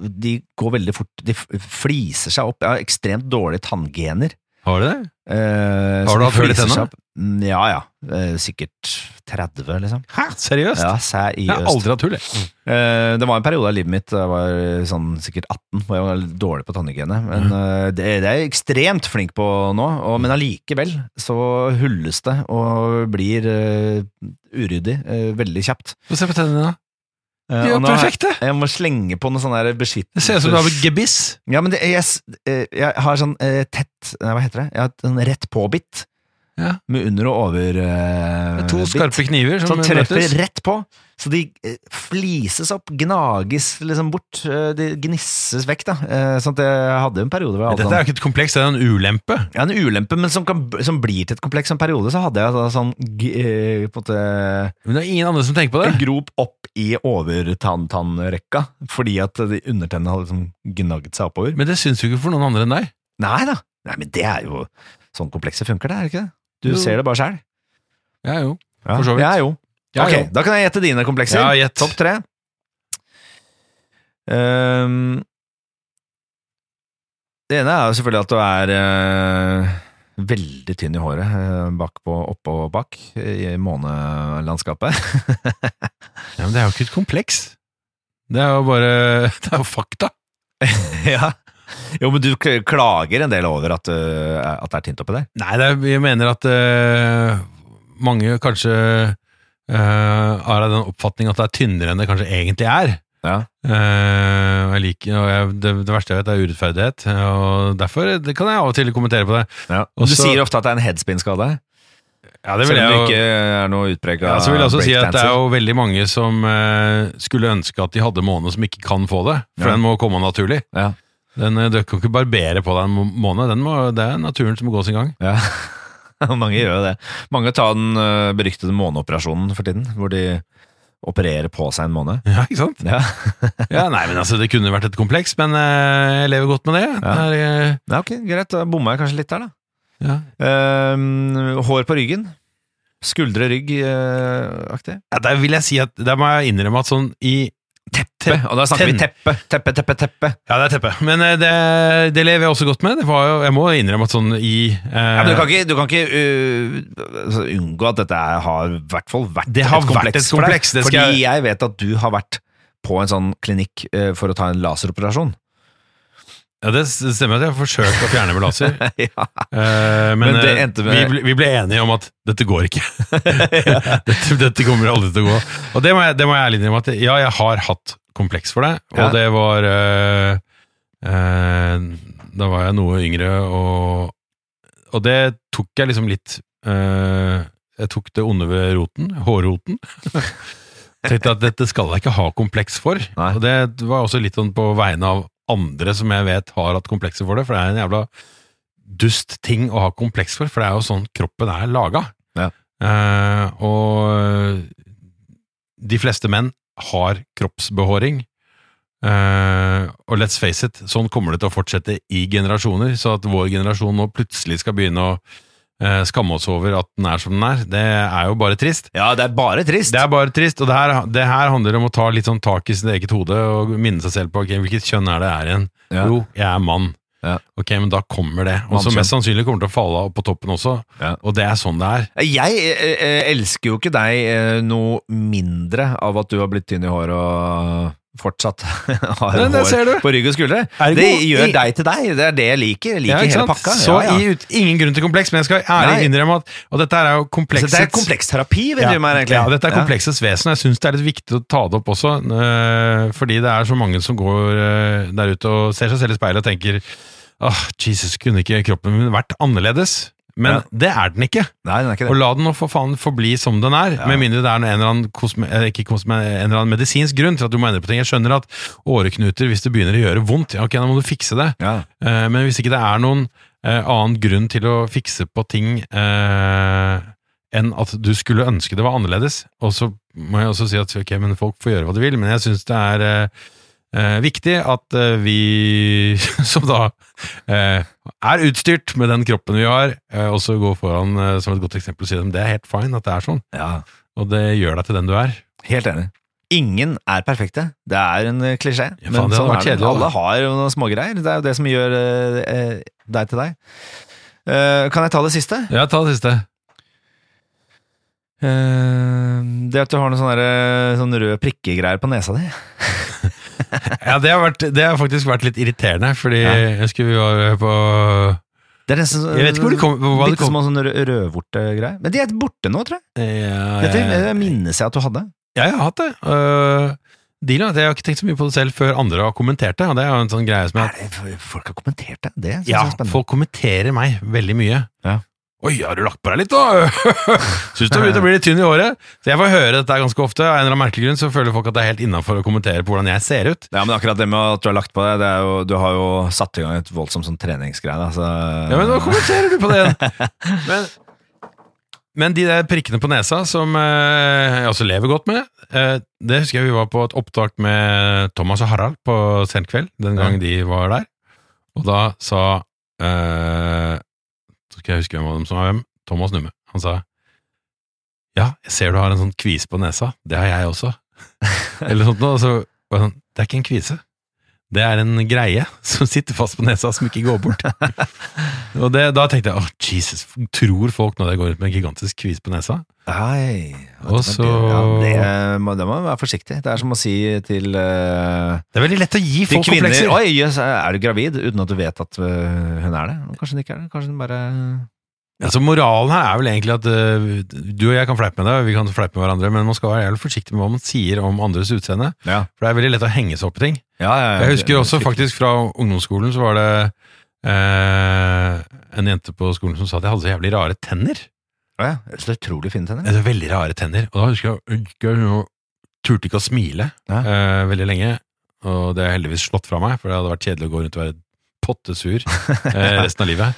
De går veldig fort. De f- fliser seg opp. Jeg har ekstremt dårlige tanngener. Har du det? Eh, Har så du de hatt hull i fliser tennene? seg opp. Mm, Ja ja. Eh, Sikkert 30, liksom. Hæ? Seriøst? Ja, sær i jeg har øst. aldri hatt hull, jeg. Eh, Det var en periode av livet mitt, da jeg var sånn sikkert 18, hvor jeg var litt dårlig på tannhygiene. Men Mm. eh, det, det er jeg ekstremt flink på nå, og, men allikevel så hulles det og blir eh, uryddig eh, veldig kjapt. Få se på tennene dine. Eh, De er og jo nå har jeg- perfekte! Jeg må slenge på noe sånn der beskyttelse. Det ser ut som du har et gebiss. Ja, men det, jeg, s- eh, jeg har sånn eh, tett Nei, hva heter det? Jeg har et sånn rett på-bitt. Ja. Med under- og over-bitt. To skarpe kniver som Som møtes. Eh, Sånn treffer rett på. Så de eh, flises opp, gnages liksom bort. eh, De gnisses vekk, da. Eh, Sånn at jeg hadde en periode hvor jeg hadde Dette er jo ikke et kompleks, det er en ulempe. sånn- ja, en ulempe, men som, kan, som blir til et kompleks. En periode så hadde jeg da sånn g- eh, på en måte Men det er ingen andre som tenker på en det. grop opp i overtann-tannrekka, fordi at de undertennene hadde liksom gnagd seg oppover. Men det syns jo ikke for noen andre enn deg. Nei da! Nei, men det er jo Sånn komplekset funker, det, er det ikke det? Du Jo. ser det bare sjæl. Ja, jo. Ja. For så vidt. Ja, jo. Ja, ok, jo. da kan jeg gjette dine komplekser. Ja, gjett. Topp tre. Ehm, det ene er jo selvfølgelig at du er eh, veldig tynn i håret eh, bakpå, oppå og bak i månelandskapet. Ja, men det er jo ikke et kompleks. Det er jo bare Det er jo fakta. ja. Jo, men du kl- klager en del over at, du- at det er tynt oppi der. Nei, det er, jeg mener at eh, mange kanskje eh, har den oppfatning at det er tynnere enn det kanskje egentlig er. Ja. Eh, og jeg liker, og jeg, det, det verste jeg vet, er urettferdighet. Og derfor det kan jeg av og til kommentere på det. Du Også- sier ofte at det er en headspin-skade, Ja, selv jeg om jo- du ikke er noe utprega Ja, så vil jeg også si at det er breakdancer. jo veldig mange som eh, skulle ønske at de hadde måne som ikke kan få det, for Ja. den må komme naturlig. Ja. Den, eh, du kan ikke barbere på deg en må- måne, den må, det er naturen som må gå sin gang. Ja, mange gjør jo det. Mange tar den eh, beryktede måneoperasjonen for tiden, hvor de opererer på seg en måned. Ja, ikke sant? Ja, Ja, nei, men altså, det kunne vært et kompleks, men eh, jeg lever godt med det. Ja. Det er, eh, ja ok, greit. Da bomma jeg kanskje litt der, da. Ja. Eh, hår på ryggen. Skuldre, rygg eh, aktig. Ja, der vil jeg si at Der må jeg innrømme at sånn i Teppe. Og da snakker vi teppe. Teppe, teppe, teppe. Ja, det er teppe. Men eh, det, det lever jeg også godt med. Det var jo, jeg må innrømme at sånn i eh, Ja, men du kan ikke, du kan ikke uh, altså, unngå at dette er- har i hvert fall vært Det har vært et for deg. kompleks, det skal Fordi jeg- jeg vet at du har vært på en sånn klinikk eh, for å ta en laseroperasjon. Ja, det s- stemmer at jeg har forsøkt å fjerne med laser. ja. Eh, men Men det eh, endte med- vi, ble, vi ble enige om at dette går ikke. dette, dette kommer aldri til å gå. Og det må jeg, det må jeg ærlig innrømme at ja, jeg har hatt kompleks for det, og Ja. det var eh, eh, Da var jeg noe yngre, og, og det tok jeg liksom litt eh, Jeg tok det onde ved roten, hårroten. Tenkte at dette skal jeg ikke ha kompleks for. Nei. Og det var også litt sånn på vegne av andre som jeg vet har hatt komplekser for det, for det er en jævla dust ting å ha kompleks for, for det er jo sånn kroppen er laga. Ja. Eh, og de fleste menn har kroppsbehåring. Eh, og let's face it, sånn kommer det til å fortsette i generasjoner. Så at vår generasjon nå plutselig skal begynne å eh, skamme oss over at den er som den er, det er jo bare trist. ja, det er bare trist. Det er bare trist, og det her, det her handler om å ta litt sånn tak i sitt eget hode og minne seg selv på ok, hvilket kjønn er det jeg er igjen. Ja. Jo, jeg er mann. Ja. Ok, men da kommer det. Og som Mannskjønn. mest sannsynlig kommer til å falle av på toppen også. Ja. Og det er sånn det er. Jeg eh, eh, elsker jo ikke deg eh, noe mindre av at du har blitt tynn i håret og fortsatt har Nei, det ser hår du. på rygg og skuldre. Ergo, det gjør i- deg til deg. Det er det jeg liker. Jeg liker Ja, ikke hele sant? pakka. Så ja, ja. i ut, ingen grunn til kompleks, men jeg skal Nei. ærlig innrømme at og dette her er jo Så komplekset. Altså, det er kompleksterapi vi Ja, driver med her, egentlig. ja, dette er kompleksets vesen. og Jeg syns det er litt viktig å ta det opp også, øh, fordi det er så mange som går øh, der ute og ser seg selv i speilet og tenker Åh, Jesus, kunne ikke kroppen min vært annerledes? Ja. Men det er den ikke. Nei, den er ikke det. Og la den nå for faen forbli som den er, Ja. med mindre det er en eller, annen kosme, eh, ikke kosme, en eller annen medisinsk grunn til at du må endre på ting. Jeg skjønner at åreknuter, hvis det begynner å gjøre vondt, ja, ok, da må du fikse det. Ja. Eh, Men hvis ikke det er noen eh, annen grunn til å fikse på ting eh, enn at du skulle ønske det var annerledes, og så må jeg også si at ok, men folk får gjøre hva de vil, men jeg syns det er eh, eh, viktig at eh, vi som da eh, er utstyrt med den kroppen vi har, eh, også går foran eh, som et godt eksempel og sier at det er helt fine at det er sånn, ja. og det gjør deg til den du er. Helt enig. Ingen er perfekte. Det er en eh, klisjé. Ja, faen, det hadde er vært det. kjedelig, da. Alle har jo noen smågreier. Det er jo det som gjør eh, eh, deg til deg. Eh, kan jeg ta det siste? Ja, ta det siste. Eh, det at du har noen sånne, der, eh, sånne røde prikkegreier på nesa di. Ja, det har, vært, det har faktisk vært litt irriterende, fordi Ja. jeg skulle vi var på Det er nesten Jeg vet ikke hvor det kom, hva det Bitte kom små sånne rø- rødvortegreier. Men de er borte nå, tror jeg. Ja, Dette eh, jeg, minnes jeg at du hadde. jeg har hatt det. Uh, dealen er at jeg har ikke tenkt så mye på det selv før andre har kommentert det. Og det er jo en sånn greie som jeg, Er det, folk har kommentert det. Det synes ja, jeg er spennende. Folk kommenterer meg veldig mye. Ja. Oi, har du lagt på deg litt, da? Syns du har begynt å bli litt tynn i håret? Så jeg får høre dette ganske ofte. Av en eller annen merkelig grunn så føler folk at det er helt innafor å kommentere på hvordan jeg ser ut. Ja, men akkurat det med at du har lagt på deg, det er jo, du har jo satt i gang et voldsomt sånn treningsgreie. da, så- Ja, men nå kommenterer du på det igjen. Men, men de der prikkene på nesa, som eh, jeg også lever godt med, eh, det husker jeg vi var på et opptak med Thomas og Harald på sent kveld, den gang de var der. Og da sa eh, Så skal jeg huske hvem av dem som var hvem. Thomas Numme. Han sa Ja, jeg ser du har en sånn kvise på nesa. Det har jeg også. Eller sånt noe. Og så var jeg sånn Det er ikke en kvise. Det er en greie som sitter fast på nesa, som ikke går bort. Og det, da tenkte jeg åh, Jesus, tror folk nå at jeg går rundt med en gigantisk kvise på nesa? Nei Og så- ja, det, må, det må man være forsiktig. Det er som å si til, eh, Det er veldig lett å gi til folk kvinner komplekser. Oi, jøss, er du gravid? Uten at du vet at eh, hun er det. Kanskje hun ikke er det. Kanskje hun bare Altså, moralen her er vel egentlig at øh, du og jeg kan fleipe med det, vi kan fleipe med hverandre, men man skal være jævlig forsiktig med hva man sier om andres utseende. Ja, For det er veldig lett å henge seg opp i ting. ja, ja, ja. Jeg husker også faktisk fra ungdomsskolen så var det eh, en jente på skolen som sa at jeg hadde så jævlig rare tenner. Ja, ja. Så utrolig fine tenner. Jeg hadde veldig rare tenner. Og da husker jeg jeg husker jeg turte ikke å smile Ja. eh, veldig lenge. Og det har jeg heldigvis slått fra meg, for det hadde vært kjedelig å gå rundt og være pottesur eh, resten av livet.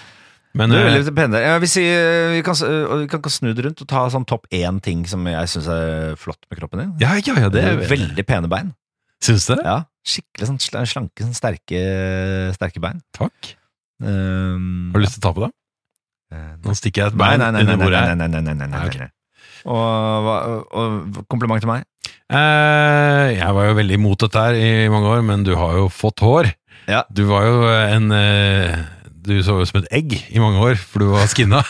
Men Du er eh, veldig pene der. Jeg vil si, eh, vi, kan, s- eh, vi kan ikke snu det rundt og ta sånn topp én ting som jeg syns er flott med kroppen din. ja, ja, ja, det er veldig veldig pene bein. Syns du det? Ja, Skikkelig sånn sl- slanke, sånn sterke, sterke bein. Takk. Um, Har du lyst til å ta på dem? Eh, Nå stikker jeg et Nei, bein nei, nei, nei, under nei, bordet her. nei, nei, nei, nei, nei, Nei, nei, ok. nei. Og, hva- og kompliment til meg. Eh, jeg var jo veldig imot dette her i mange år, men du har jo fått hår. Ja. Du var jo en eh, Du så jo som et egg i mange år, for du var skinna.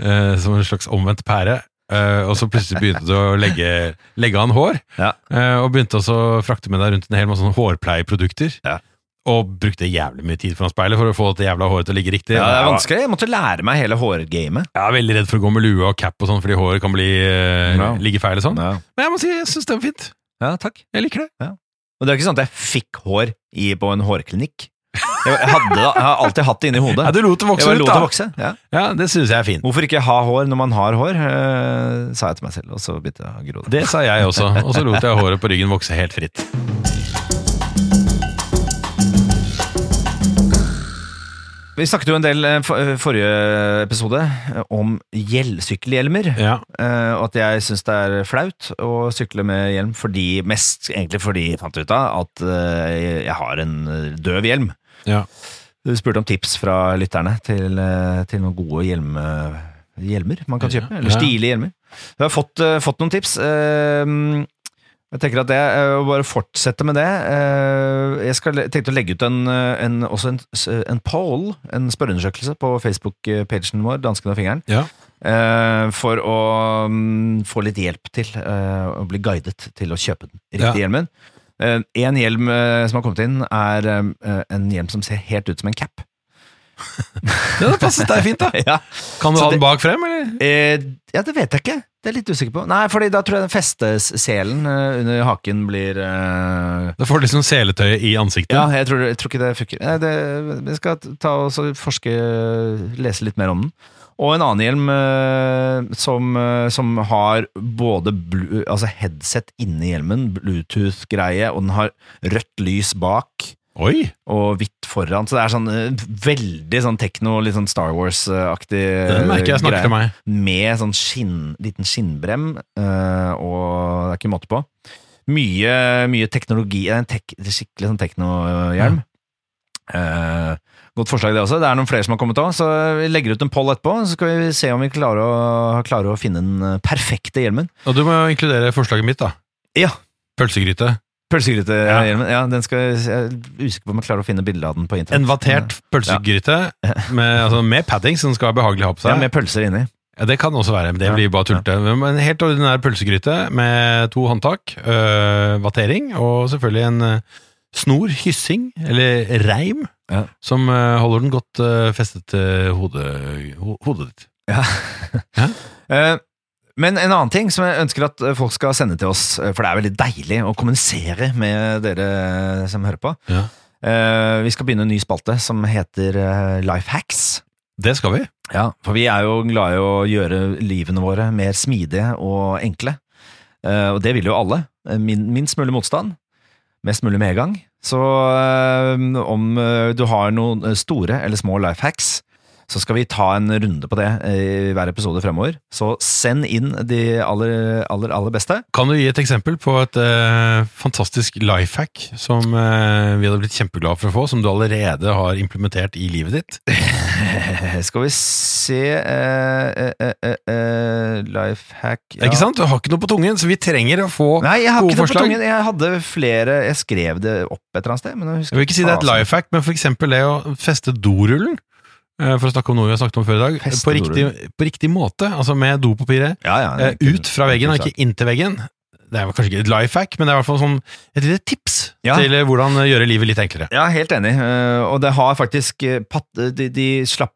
eh, som en slags omvendt pære. Eh, og så plutselig begynte du å legge, legge an hår. Ja. Eh, og begynte også å frakte med deg rundt en hel masse sånne hårpleieprodukter. Ja. Og brukte jævlig mye tid foran speilet for å få dette jævla håret til å ligge riktig. Ja, det Jeg er var- vanskelig. Jeg måtte lære meg hele hårgamet. Jeg er veldig redd for å gå med lue og cap og sånn, fordi håret kan bli, eh, Ja. ligge feil og sånn. Ja. Men jeg må si, jeg syns det var fint. ja, takk. Jeg liker det. Og det er ikke sånn at jeg fikk hår i, på en hårklinikk. Jeg, hadde, da- jeg har alltid hatt det inni hodet. Ja, du lot det Jeg vokse bare ut, lot det da. vokse. Ja. Ja, det syns jeg er fint. Hvorfor ikke ha hår når man har hår, eh, sa jeg til meg selv, og så begynte jeg å gro det. Det sa jeg også, og så lot jeg håret på ryggen vokse helt fritt. Vi snakket jo en del eh, for, eh, forrige episode eh, om gjellsykkelhjelmer. Ja, eh, og at jeg syns det er flaut å sykle med hjelm, fordi, mest egentlig fordi jeg fant ut av at eh, jeg har en eh, døv hjelm. ja. Du spurte om tips fra lytterne til, eh, til noen gode hjelm, hjelmer man kan Ja. kjøpe. Eller Ja. stilige hjelmer. Jeg har fått, eh, fått noen tips. Eh, Jeg tenker at det, eh, å bare fortsette med det eh, Jeg skal, tenkte å legge ut en, eh, en, også en, s- en poll, en spørreundersøkelse, på Facebook-pagen vår, Dansken og fingeren, Ja. eh, for å mm, få litt hjelp til eh, å bli guidet til å kjøpe den Ja. riktige hjelmen. Eh, En hjelm eh, som har kommet inn, er eh, en hjelm som ser helt ut som en cap. Det passet deg fint, da. ja. Kan du Så ha det- den bak frem, eller? Eh, ja, det vet jeg ikke. Det er jeg litt usikker på. Nei, fordi da tror jeg den festeselen eh, under haken blir eh, Da får du liksom seletøyet i ansiktet. Ja, jeg tror, jeg tror ikke det funker. Nei, det, jeg skal ta og så forske, lese litt mer om den. Og en annen hjelm eh, som, eh, som har både blu, altså headset inni hjelmen, Bluetooth-greie, og den har rødt lys bak Oi! og hvitt foran. Så det er sånn eh, veldig sånn tekno, litt sånn Star Wars-aktig eh, Den merker jeg snakker greie til meg. med sånn skinn, liten skinnbrem, eh, og det er ikke måte på. Mye, mye teknologi, det er en tek, det er skikkelig sånn teknohjelm. Eh, godt forslag det også, det er noen flere som har kommet av, så vi legger ut en poll etterpå, så skal vi se om vi klarer å, klarer å finne den eh, perfekte hjelmen. Og du må jo inkludere forslaget mitt, da. Ja. Pølsegryte. Ja. Pølsegrytehjelmen, ja, den skal, jeg er usikker på om jeg klarer å finne bilde av den på internett. En vatert pølsegryte med, altså, med padding som skal være behagelig å ha på Ja, seg. med pølser inni. Ja, det kan også være, men det blir bare tullete. Men en helt ordinær pølsegryte med to håndtak, øh, vatering og selvfølgelig en øh, snor, hyssing eller reim, Ja. som øh, holder den godt øh, festet til hodet, ho hodet ditt. Ja. Ja. Eh, Men en annen ting som jeg ønsker at eh, folk skal sende til oss, eh, for det er veldig deilig å kommunisere med dere eh, som hører på. Ja. Eh, Vi skal begynne en ny spalte som heter eh, Life Hacks. Det skal vi. Ja, for vi er jo glad i å gjøre livene våre mer smidige og enkle. Eh, og det vil jo alle. Eh, Min, minst mulig motstand, mest mulig medgang. Så eh, om eh, du har noen eh, store eller små life hacks, så skal vi ta en runde på det eh, i hver episode fremover. Så send inn de aller, aller, aller beste. Kan du gi et eksempel på et øh, fantastisk life hack som øh, vi hadde blitt kjempeglade for å få, som du allerede har implementert i livet ditt? Skal vi se eh, eh, eh, eh, Life hack ja. Ikke sant? Du har ikke noe på tungen, så vi trenger å få Nei, jeg har Gode ikke noe på forslag. tungen. Jeg hadde flere Jeg skrev det opp et eller annet sted. Men jeg husker Jeg vil ikke si det er et fasen. life hack, men for eksempel det å feste dorullen, eh, for å snakke om noe vi har snakket om før i dag, eh, Feste på riktig, på riktig måte, altså med dopapiret Ja, ja, eh, det kunne- ut fra veggen og kunne ikke inntil veggen. Det er kanskje ikke et life hack, men det er i hvert fall sånn et lite tips Ja. til eh, hvordan eh, gjøre livet litt enklere. sagt. Ja, helt enig. Eh, Og det har faktisk eh, pat de, de slapp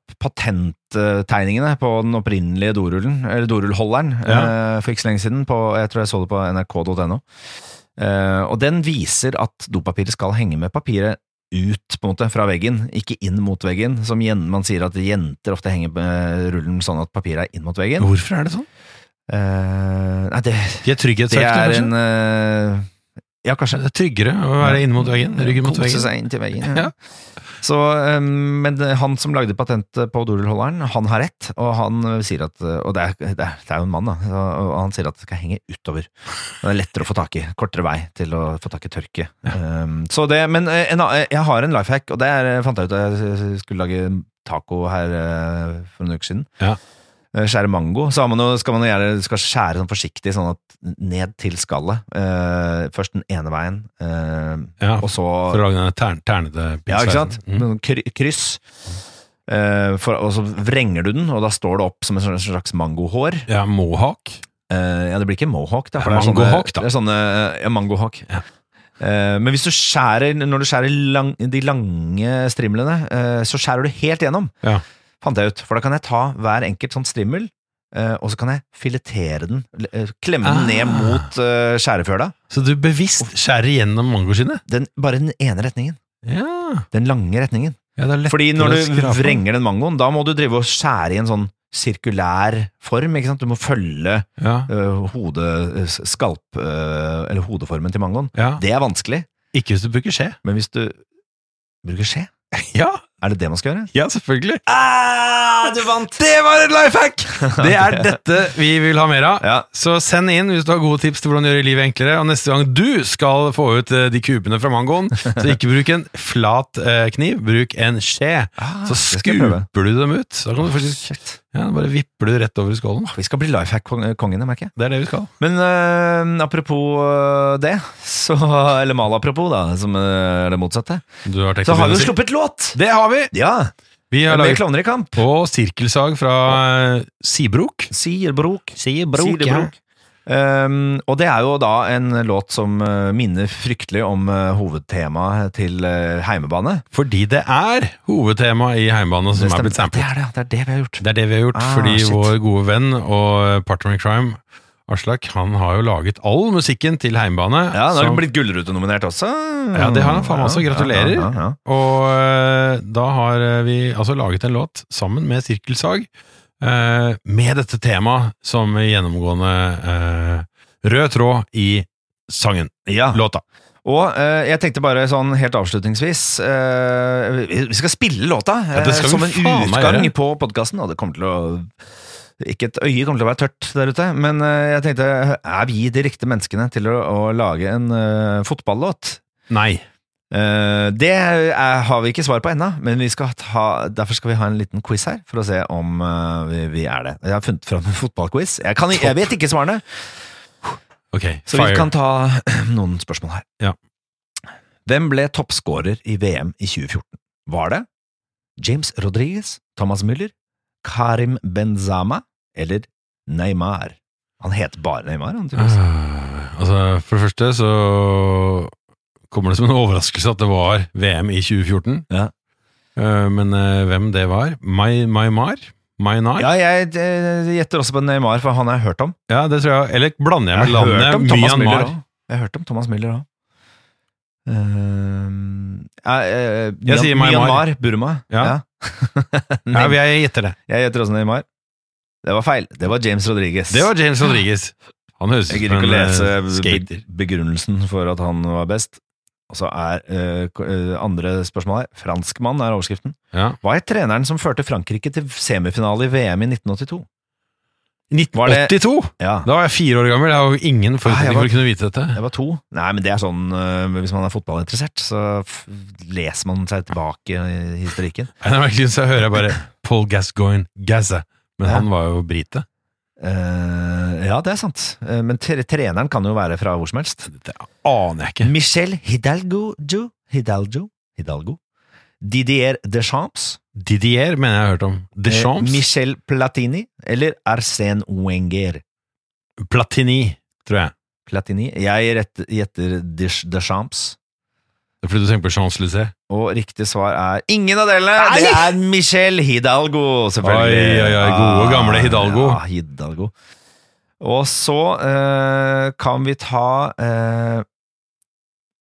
patenttegningene på den opprinnelige dorullen, eller dorullholderen, Ja. eh, for ikke så lenge siden. På, jeg tror jeg så det på nrk.no. Eh, Og den viser at dopapiret skal henge med papiret ut på en måte fra veggen, ikke inn mot veggen. Som jen- man sier at jenter ofte henger eh, rullen sånn at papiret er inn mot veggen. Hvorfor er det sånn? Eh, nei, det, De er det er trygghetssøkere, en eh, Ja, kanskje. kanskje? Det er tryggere å være inne mot veggen, ryggen mot Kose veggen. seg inn til veggen. Ja. Ja. Så, eh, men han som lagde patentet på dorullholderen, han har rett, og han eh, sier at eh, Og det er, det er, det er jo en mann, da. så- Og han sier at det skal henge utover. Det er lettere å få tak i. Kortere vei til å få tak i tørke. Eh, så det, men eh, en, annen- jeg har en life hack, og det er, eh, fant jeg ut da jeg skulle lage taco her eh, for noen uker siden. Ja. Eh, Skjære mango, så har man jo, skal man jo gjerne skal skjære sånn forsiktig, sånn at ned til skallet. Eh, først den ene veien, eh, Ja, og så for å lage den tern, ternete ja, ikke sant? pizzasausen. Mm. Noen kry- kryss. Eh, for, og så vrenger du den, og da står det opp som en slags- slags mangohår. Ja, mohawk. Eh, ja, det blir ikke mohawk, da. for Ja, det er sånne- mangohawk, da. Det er sånne, ja, mangohawk. Ja. Eh, men hvis du skjærer, når du skjærer lang, de lange strimlene, eh, så skjærer du helt gjennom. Ja. Fant jeg ut. For da kan jeg ta hver enkelt sånn strimmel, eh, og så kan jeg filetere den. l- eh, Klemme den ned Ah. mot eh, skjærefjøla. Så du bevisst skjærer gjennom mangoskinnet? Den, bare den ene retningen. Ja. Den lange retningen. ja, det er lett. Fordi når å du skrape den. vrenger den mangoen, da må du drive og skjære i en sånn sirkulær form. ikke sant? Du må følge Ja. øh, hode, øh, skalp, øh, eller hodeformen til mangoen. ja. Det er vanskelig, Ikke hvis du bruker skje. men hvis du bruker skje, Ja, er det det man skal gjøre? ja selvfølgelig. Ah, du vant! Det var et life hack! Det er dette vi vil ha mer av. Ja, Så send inn hvis du har gode tips til hvordan gjøre livet enklere. Og neste gang du skal få ut eh, de kupene fra mangoen, så ikke bruk en flat eh, kniv, bruk en skje. Ah, det Så skal jeg prøve. skuper du dem ut. Da kan du faktisk Shit. ja, Bare vipper du rett over i skålen. Vi skal bli lifehack-kongene, merker jeg. Ah, Det er det vi skal. Men øh, apropos øh, det, så, eller mal apropos, da, som øh, er det motsatte, Du har tenkt så å har vi begynne jo å si- sluppet låt! Det har vi! Ja, Vi har med laget Klovner i kamp. og sirkelsag fra eh, Sibrok. Siderbrok. Siderbrok, ja. Um, og det er jo da en låt som uh, minner fryktelig om uh, hovedtemaet til uh, Heimebane. Fordi det er hovedtema i Heimbane som er stemmer. blitt samplet. Det er det, det er det vi har gjort. Det er det vi har gjort, Ah, fordi shit. vår gode venn og partner in crime, Aslak, han har jo laget all musikken til Heimbane. Ja, nå har som- den blitt Gullruten-nominert også. Ja, det har han faen meg også. Gratulerer. Ja, ja, ja. Og eh, da har eh, vi altså laget en låt sammen med Sirkelsag, eh, med dette temaet som gjennomgående eh, rød tråd i sangen. Ja. Låta. Og eh, jeg tenkte bare sånn helt avslutningsvis eh, vi- Vi skal spille låta Ja, det eh, skal vi som en faen meg utgang gjøre. på podkasten, og det kommer til å Ikke et øye kommer til å være tørt der ute, men eh, jeg tenkte er vi de riktige menneskene til å, å lage en eh, fotballåt? Nei. Eh, det er, har vi ikke svar på ennå, men vi skal ta, derfor skal vi ha en liten quiz her for å se om eh, vi, vi er det. Jeg har funnet fram en fotballquiz. Jeg, kan, jeg vet ikke svarene, Ok, så vi kan ta noen spørsmål her. Ja. Hvem ble toppskårer i VM i 2014? Var det James Rodriguez, Thomas Müller, Karim Benzama eller Neymar? Han heter bare Neymar, han tydeligvis. Ah, altså, for det første så kommer det som en overraskelse at det var VM i 2014. Ja. Eh, men eh, hvem det var? Mai- Maimar? Mainar? Ja. Ja, jeg eh, gjetter også på Neymar, for han har jeg hørt om. det tror jeg. Eller blander jeg med har hørt om landet Thomas Müller Myanmar? også. Jeg har hørt om Thomas Müller Ehm, òg. Jeg sier Myanmar. eh, Myanmar, Burma. Ja. Ja, Nei, vi- jeg gjetter det. jeg gjetter også Neymar. Det var feil. Det var James Rodriguez. Det var James Rodriguez. Han høres ut jeg gidder som ikke å en lese eh, skater. be- begrunnelsen for at han var best. Og så er eh, k- eh, andre spørsmål her. Franskmann er overskriften. Ja. Hva er treneren som førte Frankrike til semifinale i VM i 1982? Var det- 82! Ja, Da var jeg fire år gammel. Jeg har jo ingen Ah, jeg forutsetning var- for å kunne vite dette. Jeg var to. Nei, men det er sånn øh, Hvis man er fotballinteressert, så f leser man seg tilbake i historikken. Nei, merkelig, så hører jeg bare Paul Gascoigne Gazza. Men Ja. han var jo brite. Eh, ja, det er sant. Eh, men tre treneren kan jo være fra hvor som helst. Det aner jeg ikke. Michel Hidalgo Ju- Hidalgo Hidalgo. Didier Deschamps. Didier mener jeg har hørt om. Deschamps. Eh, Michel Platini. Eller Arsène Wenger. Platini, tror jeg. Platini. Jeg rett- gjetter Desch- Deschamps. Det er fordi du tenker på Champs-Élysées. Og riktig svar er ingen av delene! Nei! Det er Michel Hidalgo, selvfølgelig. Ah, Oi, oi, oi, gode, gamle Hidalgo. Ja, Hidalgo. Og så eh, kan vi ta eh,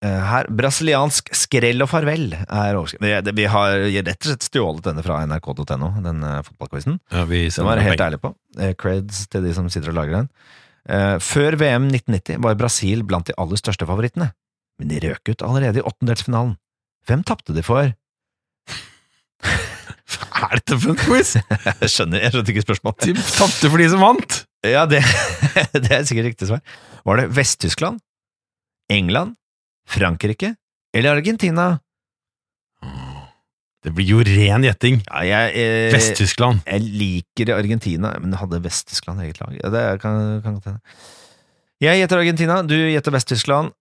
eh, her Brasiliansk skrell og farvel er overskriften. Vi, det- vi har rett og slett stjålet denne fra nrk.no, denne fotballquizen. Ja, vi Den var jeg helt ærlig på. Eh, Creds til de som sitter og lager den. Eh, Før VM 1990 var Brasil blant de aller største favorittene, men de røk ut allerede i åttendelsfinalen. Hvem tapte de for? Hva er dette for en quiz? Jeg skjønner, jeg skjønte ikke spørsmålet. De tapte for de som vant! Ja, det, det er sikkert riktig svar. Var det Vest-Tyskland, England, Frankrike eller Argentina? Det blir jo ren gjetting. Ja, jeg, eh, Vest-Tyskland. jeg liker Argentina, men hadde Vest-Tyskland eget lag? Ja, det kan kan godt hende. Jeg gjetter Argentina, du gjetter Vest-Tyskland,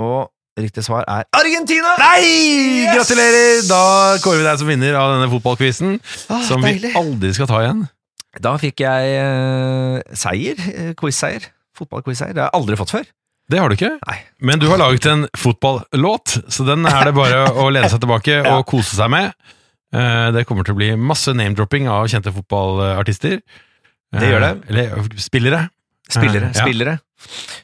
og riktig svar er Argentina! Nei! Yes! Gratulerer! Da kårer vi deg som vinner av denne fotballquizen, Ah, som vi deilig. aldri skal ta igjen. Da fikk jeg eh, seier, eh, quiz-seier, fotball-quiz-seier. Det har jeg aldri fått før. Det har du ikke. Nei. Men du har laget en fotballåt, så den er det bare å lene seg tilbake Ja. og kose seg med. Eh, Det kommer til å bli masse name-dropping av kjente fotballartister. Eh, Det gjør det. Eller spillere. Eh, Spillere, Ja. spillere.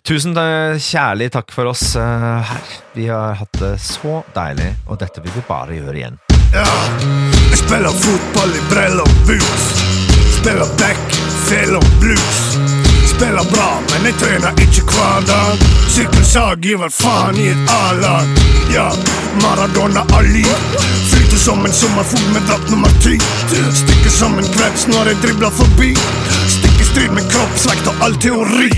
Tusen eh, kjærlig takk for oss eh, her. Vi har hatt det så deilig, og dette vil vi bare gjøre igjen. Jeg spiller fotball i briller og boots. Spiller back, sel og blues. Spiller bra, men jeg trener ikke hver dag. Sykkelsag gir vel faen i et A-lag. Ja, Maradona Ali. Flyter som en sommerfugl med drapp nummer ti. Stikker som en krets når jeg dribler forbi. Stikker strid med kroppsvekt og all teori.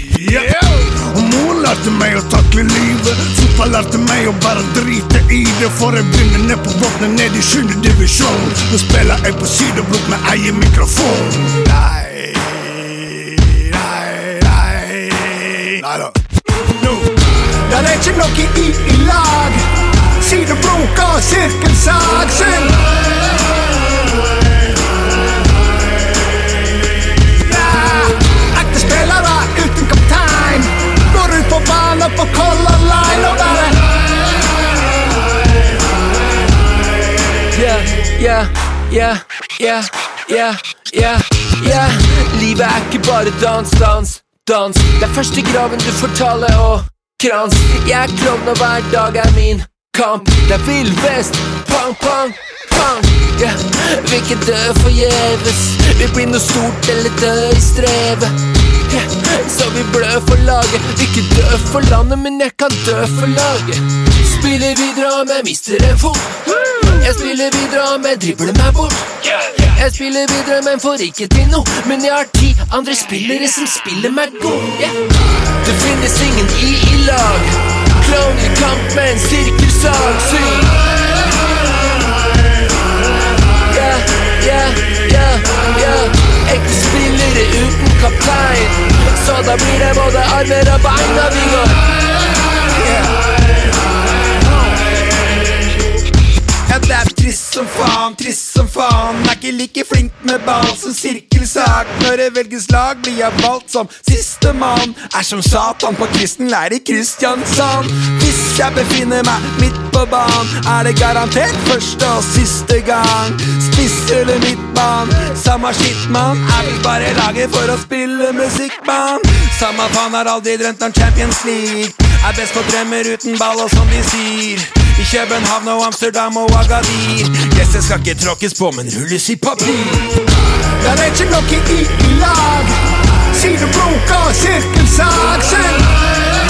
Og mor lærte meg å takle livet. Fotball lærte meg å bare drite i det. For jeg begynner ned på bunnen, ned i sjuende divisjon. Nå spiller jeg på sideblokk med egen mikrofon. Nei, nei, nei Neida. Nå. Det er ikke noe i i lag. Sidebroka, sirkelsag, syng. Ja, Ekte spillere uten kaptein. Går ut på banen på Color Line og bare Yeah, yeah, yeah, yeah, yeah, yeah, yeah. Livet er ikke bare dans, dans, dans. Det er først i graven du får tale og krans. Jeg er klovn, og hver dag er min kamp. Det er vill vest, pang, pang, pang. Yeah. Vi kan dø forgjeves. Vi blir noe stort eller dø i strevet. Yeah. Så vi blør for laget. Ikke dø for landet, men jeg kan dø for laget. Spiller videre om jeg mister en fot. Jeg spiller videre om jeg dribler meg bort. Jeg spiller videre, men får ikke til noe. Men jeg har ti andre spillere som spiller meg god. Yeah. Det finnes ingen i i lag. Klovn i kamp med en sirkelsag. Syng! Yeah, yeah, yeah, yeah. Ekte spillere uten kaptein. Så da blir det både armer og bein når vi går. Ja, det er trist som faen, trist som faen. Er ikke like flink med ball som sirkelsak. Når det velges lag, blir jeg valgt som sistemann. Er som Satan på kristen leir i Kristiansand. Hvis jeg befinner meg midt på banen, er det garantert første og siste gang. Spiss eller midtmann, samme skitt, mann. Er vel bare laget for å spille musikk, mann. Samme faen har aldri drømt om Champions League. Er best på drømmer uten ball, og som de sier. I København og Amsterdam og Agadir Gresset skal ikke tråkkes på, men rulles i papir Det er ikke noe i i lag. Sidebroka, sirkelsag, syng.